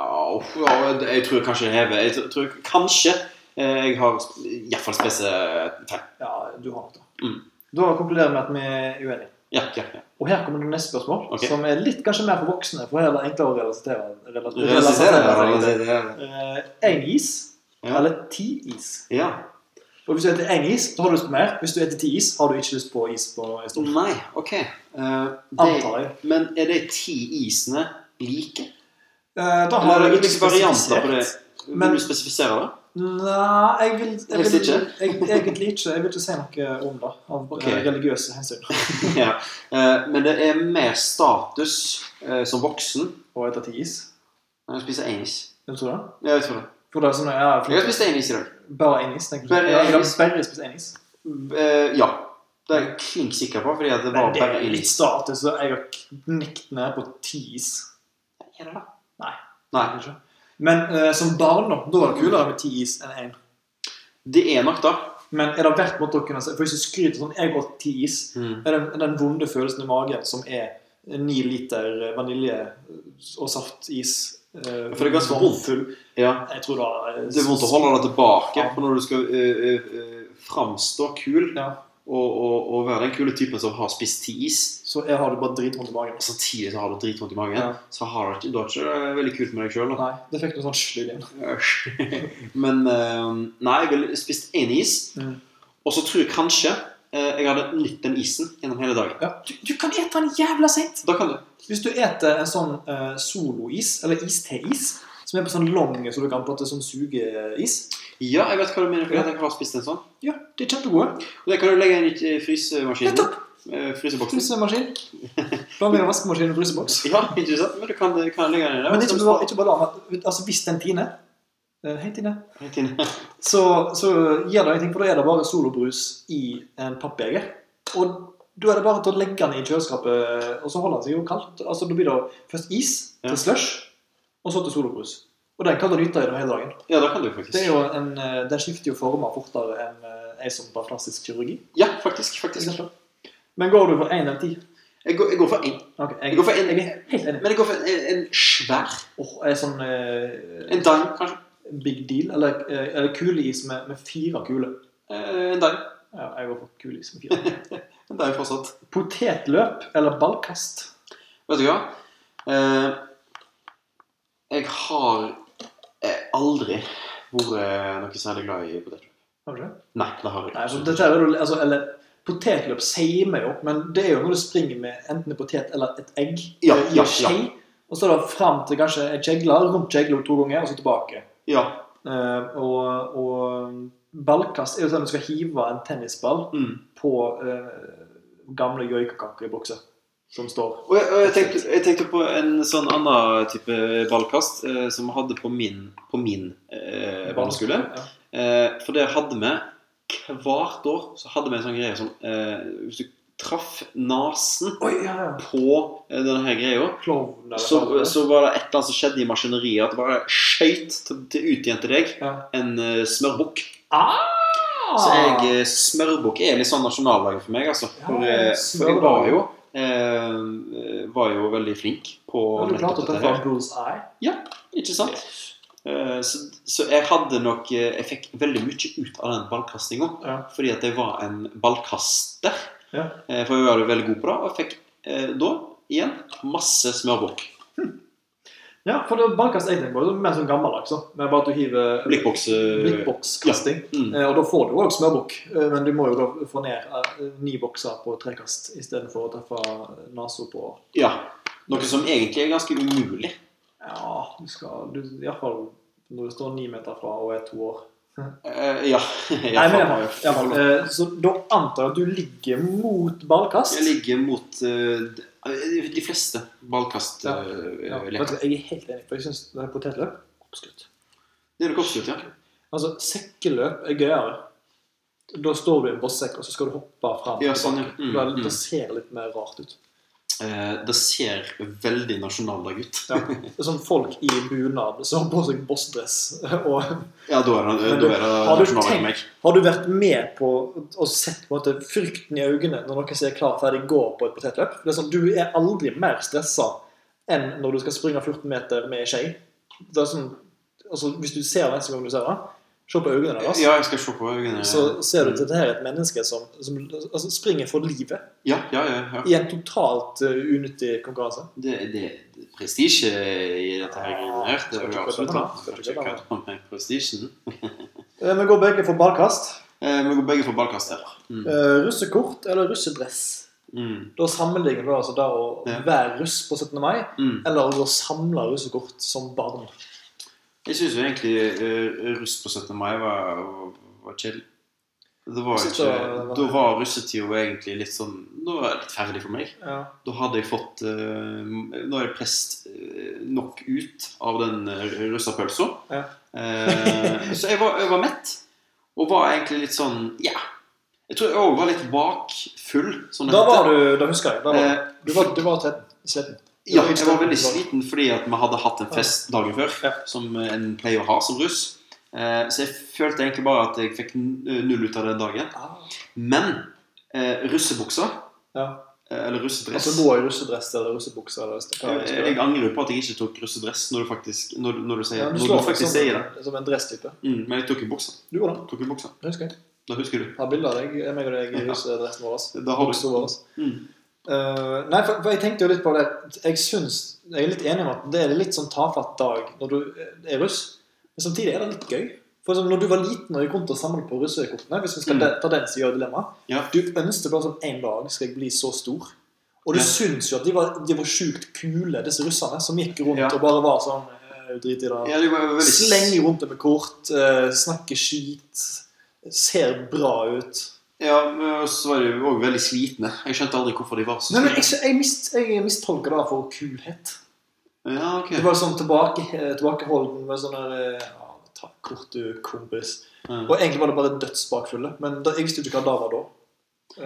Ja, uff, ja, jeg tror kanskje jeg hever Jeg tror- tror kanskje eh, jeg har iallfall spist eh, fem.
Ja, du har nok det.
Mm.
Da konkluderer vi med at vi er uenige.
Ja, ja, ja.
Og her kommer det neste spørsmål,
Ok.
som er litt kanskje mer for voksne. For her er det enklere å relatere. rela- relatere.
Relatere.
Eh, En is
Ja.
eller ti is?
Ja.
Og hvis du heter én is, så har du lyst på mer. Hvis du heter ti is, har du ikke lyst på is på en stund.
Nei, OK. Eh,
Antar
det,
jeg.
men er de ti isene like?
Eh, Da
Eller er det
ikke
ulike varianter på det?
spesifisert.
Vil
Men-
du spesifisere det?
Nei, jeg vil, jeg
Helst
vil
ikke?
jeg, Egentlig ikke. Jeg vil ikke si noe om det av
Ok.
eh, religiøse hensyn.
ja. Eh, Men det er mer status eh, som voksen
Og etter ti is.
enn å spise én is.
Du tror det?
Ja, Jeg tror det.
For det er sånn, ja,
Jeg har
flott.
spist én is i dag.
Bare én is, tenker du?
Bare
Ja, jeg har
én is.
bare spist én is.
Eh, Ja. Det er jeg klink sikker på, fordi at det var
Men det
bare
er
én
litt
is.
status, og jeg har knekt ned på ti is.
Er det det?
Nei.
Nei.
Kanskje. Men eh, som barn, da, da var det kulere med ti is enn én.
Det er nok det.
Men er det verdt mot å kunne si For hvis du skryter sånn 'Jeg åt ti is', Er den, den vonde følelsen i magen som er ni liter vanilje og saftis eh,
For det er ganske vondt.
vannfull.
Ja.
Jeg tror da eh,
Det er vondt å holde det tilbake. For når du skal eh, eh, eh, framstå kul
Ja.
og, og, og være den kule typen som har spist ti is,
Så jeg har det bare dritvondt i magen. altså.
og samtidig så har du dritvondt i magen,
Ja.
så har du ikke, du har ikke det veldig kult med deg sjøl.
Nei, det fikk noe sånn slyd igjen.
Men eh, nei, jeg ville spist én is.
Mm.
Og så tror jeg kanskje eh, jeg hadde nytt den isen gjennom hele dagen.
Ja. Du, du kan ete den jævla seint!
Da kan du.
Hvis du eter en sånn eh, solois, eller is-te-is, som er på sånn lang så du kan prate sånn sugeis
Ja, jeg vet hva du mener. for
Ja.
Jeg har spist en sånn.
Ja, de er kjempegode.
Og Det kan du legge inn i eh, frysemaskinen.
Nettopp!
Eh, Fryseboksen.
Frysemaskin. Blanding av vaskemaskin og fryseboks.
Ja, ikke sant? Men du kan, du kan legge den inn der.
Men det er ikke bare, ikke bare da, men, altså, hvis den tiner eh, Hei, Tine.
Rett inn.
så, så gjør det ingenting, for da er det bare solobrus i en pappjeger. Og da er det bare til å legge den i kjøleskapet, og så holder den seg jo kaldt. Altså, Da blir det først is,
Ja.
til slush, og så til solobrus. Og den kan du nyte gjennom hele dagen.
Ja, da kan du faktisk.
Det er jo en, eh, Den skifter jo former fortere enn eh, ei som tar plastisk kirurgi.
Ja, faktisk.
for
faktisk.
eksempel. Men går du for én eller ti?
Jeg går, jeg går for en.
Ok,
Jeg går for en-
jeg er helt enig.
Men jeg går for en, en svær.
Åh, er sånn eh,
En dime, kanskje.
big deal, eller, eh, eller kuleis med, med fire kuler.
Eh, En dime.
Ja, jeg går for kuleis med fire.
En dime fortsatt.
Potetløp eller ballkast?
Vet du hva? Eh, jeg har eh, aldri vært noe særlig glad i poteter.
Har du det?
Nei, det har jeg
Nei,
ikke.
altså, dette er jo, altså, eller, potetløp seimer jo, men det er jo når du springer med enten en potet eller et egg eh,
Ja,
i en
ja,
skje, og så er det fram til kanskje en kjegle, rundt kjegla to ganger, og så tilbake.
Ja.
Eh, og, og ballkast er jo sånn at du skal hive en tennisball
Mm.
på eh, gamle joikakakebokser som står.
Og jeg, og jeg, tenkte, jeg tenkte på en sånn annen type ballkast eh, som vi hadde på min, på min eh, barneskole.
Ja.
Eh, for der hadde vi hvert år så hadde vi en sånn greie som eh, Hvis du traff nesen
Oi, ja, ja.
på eh, denne her greia,
Klovn eller
så,
hva det er.
så var det et eller annet som skjedde i maskineriet at det bare skøyt til, til ut igjen til deg
ja.
en eh, smørbukk.
Ah!
Så jeg, eh, smørbukk er litt sånn nasjonallaget for meg, altså.
Ja,
For, eh, for jeg
smørbukk.
var jo, eh, var jo veldig flink på
Har du klart å
nettopp dette
treffe
her.
Bruce Eye?
Ikke sant? Eh, Så, så jeg hadde nok eh, Jeg fikk veldig mye ut av den ballkastinga.
Ja.
Fordi at jeg var en ballkaster.
Ja.
Eh, For jeg var jo veldig god på det. Og jeg fikk eh, da, igjen, masse smørbukk.
Ja, for det er ballkast jeg tenker på. Det er mer sånn gammeldags. da. Men bare at du hiver
Blikkboks. eh,
blikkbokskasting.
Mm.
Eh, Og da får du òg smørbukk, eh, men du må jo da få ned eh, ni bokser på trekast istedenfor å treffe nesa på
Ja. Noe som egentlig er ganske umulig.
Ja, du skal du, Iallfall når du står ni meter fra og er to år.
Eh, ja. Jeg,
Nei, men
faller-
iallfall. iallfall. Eh, Så da antar jeg at du ligger mot ballkast.
jeg ligger mot eh, de- de fleste eh,
Ja. Ja,
ballkastleker.
vet du, jeg er helt enig, for jeg syns potetløp oppskrytt.
det er nok oppslutt, ja.
Altså, sekkeløp er gøyere. Da står du i en bossekk, og så skal du hoppe fram.
Ja, sånn, ja. Mm,
Da-
mm.
Det ser litt mer rart ut.
Eh, det ser veldig nasjonaldag ut.
Ja. Det er sånn folk i bunad som har på seg bossdress. Og
Ja, da er det,
Men
da
du-
er det
har du
nasjonaldag
tenkt-
for meg.
har du vært med på og sett på en måte frykten i øynene når noen sier 'klar, ferdig, gå' på et potetløp? Det er sånn, Du er aldri mer stressa enn når du skal springe 14 meter med ei skje. Det er sånn, altså, hvis du ser det neste gang du ser det, Se på øynene deres.
Ja, jeg skal se på øynene.
Så ser du at dette her er et menneske som, som altså, springer for livet
Ja, ja, ja. ja.
i en totalt eh, unyttig konkurranse.
Det, det det er prestisje i dette her greiene her. Det
Skal
er
ikke
jo absolutt
kødde med det.
Skal
Skal ikke
ikke kødde med prestisjen.
Eh, Vi går begge for ballkast.
Eh, Vi går begge for ballkast her. Mm.
Eh, russekort eller russedress?
Mm.
Da sammenligner du altså det å
Ja.
være russ på 17. mai,
Mm.
eller å gå og samle russekort som barn.
Jeg syns jo egentlig eh, russ på 17. mai var, var, var kjedelig. Det var
Jeg synes
ikke,
det var-
da var russetida egentlig litt sånn Da var jeg litt ferdig for meg. Da hadde jeg fått eh, Da hadde jeg presset eh, nok ut av den eh, russapølsa.
Ja.
Eh, så jeg var, jeg var mett, og var egentlig litt sånn Ja. Jeg tror jeg òg var litt bakfull. Sånn
Da var du, da husker jeg. Da var,
Eh,
du var, du var trett- sletten.
ja, jeg var veldig sliten fordi at vi hadde hatt en fest dagen før,
Ja.
som en pleier å ha som russ. Eh, Så jeg følte egentlig bare at jeg fikk n- null ut av den dagen.
Ah,
Men eh, russebuksa,
ja.
eh, eller russedress
Altså gå i russedress eller russebukse eller hva det
Eh,
skulle
Jeg
være.
angrer jo på at jeg ikke tok russedress når du faktisk, når, når du sier,
Ja, du
når
slår
du
faktisk sånn.
faktisk sier det.
som, som en dresstype.
Mm, men jeg tok i buksa.
Du gjorde det.
Tok i buksa.
Jeg husker jeg.
Da husker du.
Har bilde av deg, meg og deg i
Ja.
russedressen vår.
Da har
Buksa
du
vår.
mm.
Eh, nei, for, for jeg tenkte jo litt på det Jeg synes, jeg er litt enig om at det er litt sånn tafatt dag når du eh, er russ. Men samtidig er det litt gøy. For som når du var liten og gikk rundt og samlet på russekortene Hvis vi skal
Mm.
de- ta den siden av dilemmaet
Ja.
Du ønsket bare sånn en dag skal jeg bli så stor. Og du
Ja.
syns jo at de var, de var sjukt kule, disse russerne som gikk rundt
Ja.
og bare var sånn eh, Drit i det.
Ja, det var veldig
Slenger rundt det med kort, eh, snakker skit, ser bra ut.
Ja, men så var de òg veldig slitne. Jeg skjønte aldri hvorfor de var så
Nei, men jeg, jeg, mist, jeg mistolker det for kulhet.
Ja, ok.
Det var sånn tilbake, tilbakeholden med sånn der eh, ja, Ta kort, du kompis.
Ja.
Og egentlig var det bare dødsbakfulle. Men da, jeg visste jo ikke hva det var da.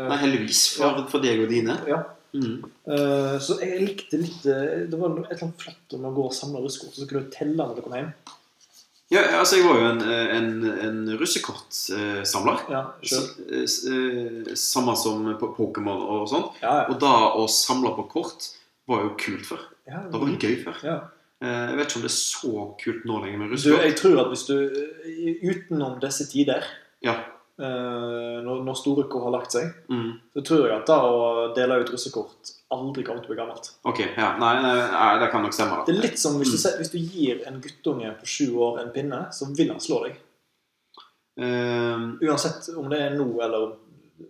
Eh,
Nei, heldigvis for, for deg og dine.
Ja.
Mm.
eh, så jeg likte litt eh, Det var et eller annet flott om å gå og samle russekort, så kunne du telle når du kom hjem.
Ja, altså jeg var jo en, en, en russekortsamler.
Ja, selv.
S- eh, s- eh, Samme som på Pokémon og sånn.
ja, ja.
Og da å samle på kort var jo kult før.
ja,
Det var gøy før.
ja.
Eh, Jeg vet ikke om det er så kult nå lenger med
Du,
russekort.
jeg tror at hvis du eh, Utenom disse tider,
Ja.
eh, når, når Store K har lagt seg,
Mm.
så tror jeg at det å dele ut russekort aldri kommer til å bli gammelt.
Ok, ja. Nei, nei, nei, det kan nok stemme.
Det
da.
er litt som hvis du, se- hvis du gir en guttunge på sju år en pinne, så vil han slå deg.
Eh,
Uansett om det er nå eller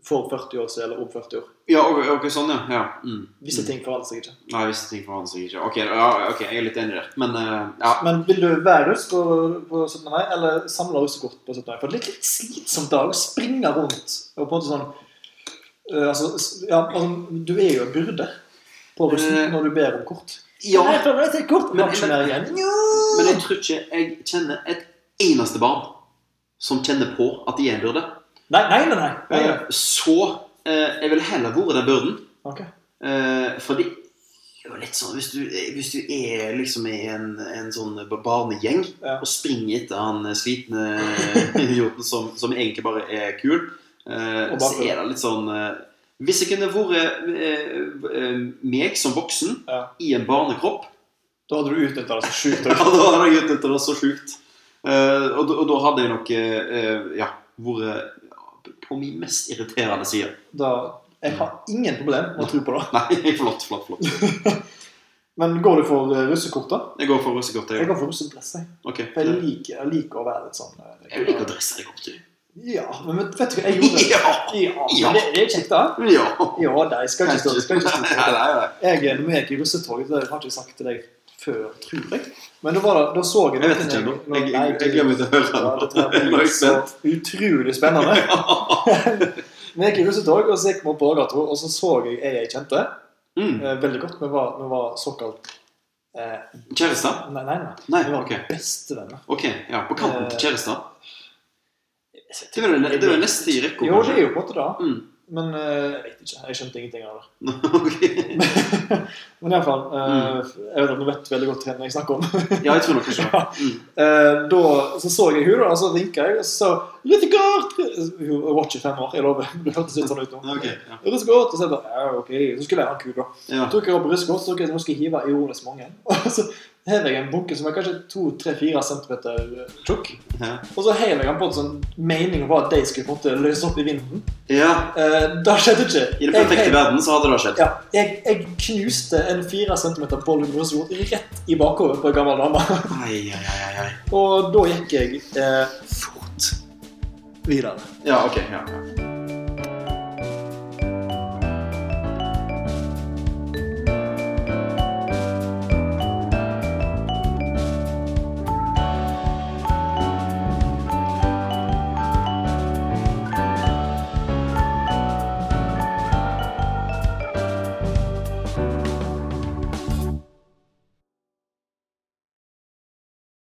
for 40 år siden eller om 40 år.
ja, ok, ok, sånn, ja. ja. Mm.
Visse
Mm.
ting forandrer seg ikke.
Nei, visse ting forandrer seg ikke. Ok, ja, ok, jeg er litt enig der. Men eh, ja.
Men vil du være russ på, på 17. mai, eller samle russekort på 17. mai? For det er litt slitsomt da å springe rundt og på en måte sånn eh, altså, s- ja, altså, Du er jo en byrde på
Eh,
russen når du ber om kort.
ja.
Nei, for det er et kort.
Men-
Men, men,
men-
igjen.
Men jeg tror ikke jeg kjenner et eneste barn som kjenner på at de er en byrde.
Nei, nei, nei. nei. nei, nei.
Så eh, jeg ville heller vært den byrden.
Ok.
Eh, fordi det er jo litt sånn, hvis du, hvis du er liksom i en, en sånn barnegjeng
Ja.
og springer etter han slitne idioten som, som egentlig bare er kul, eh,
Og
så
bakfull.
er det litt sånn eh, Hvis jeg kunne vært eh, eh, meg som voksen
Ja.
i en barnekropp
Da hadde du utnytta det så sjukt.
Ja, da hadde jeg utnyttet det så sjukt. Eh, og, da- og da hadde jeg nok eh, eh, ja, vært på min mest irriterende side.
Da, jeg har ingen problem med å tro på det.
Nei, flott, flott, flott.
Men går du for eh, russekort, da?
Jeg går for russekort.
Jeg
Jeg,
går for russedress. jeg.
Ok.
For jeg liker, jeg liker å være litt sånn eh,
jeg liker å dresse deg opp, du.
Ja, men vet vet du hva jeg gjorde?
Ja!
Ja,
Ja.
men Det, det er kjekt, da.
ja.
Ja, nei, jeg skal ikke stå skal ikke stå-
Nei, nei, nei.
Jeg er med i russetoget, det har jeg faktisk sagt til deg før, tror jeg. Men da, var det, da så jeg
Jeg vet ikke ennå. Jeg, jeg, jeg glemmer til å
Ja,
høre
dette her
det. Nå er
blir
jeg
så
spent.
utrolig spennende. Vi gikk i russetog, og så gikk vi opp Borgarto, og så så jeg ei jeg kjente
Mm.
eh, veldig godt. Vi var, vi var såkalt eh,
Kjærester?
Nei, nei. nei.
Nei,
Vi var
ok.
bestevenner.
Ok, ja, På kanten
Eh,
til kjærester? Det
Jo,
var det, det var neste i rekka.
det er jo på en måte det.
Mm.
Men eh, jeg vet ikke. Jeg skjønte ingenting av det.
Ok.
Men iallfall
Mm.
uh, Jeg vet at du vet veldig godt hvem jeg snakker om.
Ja, jeg tror nok det.
Ja.
Mm.
Eh, da så, så jeg henne, da, og så vinka jeg, og så sa hun 'Ruthegard!' Hun var ikke fem år, jeg lover. Det hørtes litt sånn ut nå.
Ok, ja.
Russegård, og så jeg bare, ja, ok, så skulle jeg ha en kuk, da.
Ja.
tok jeg opp brystkort, så tok jeg nå skal jeg hive ironisk mange. Og så hever jeg en bunke som er kanskje 2-3-4 cm tjukk.
Ja.
Og så hever jeg den på en sånn mening om at de skulle på en måte løse opp i vinden.
ja.
Eh, det skjedde ikke.
I
Jeg
den perfekte
hev-
verden så hadde det skjedd.
Ja, jeg, jeg knuste en 4 cm boll med rullestol rett i bakhodet på en gammel dame.
Ai, ai, ai, ai, ai.
Og da gikk jeg eh, fort videre.
Ja, ok. Ja, ja.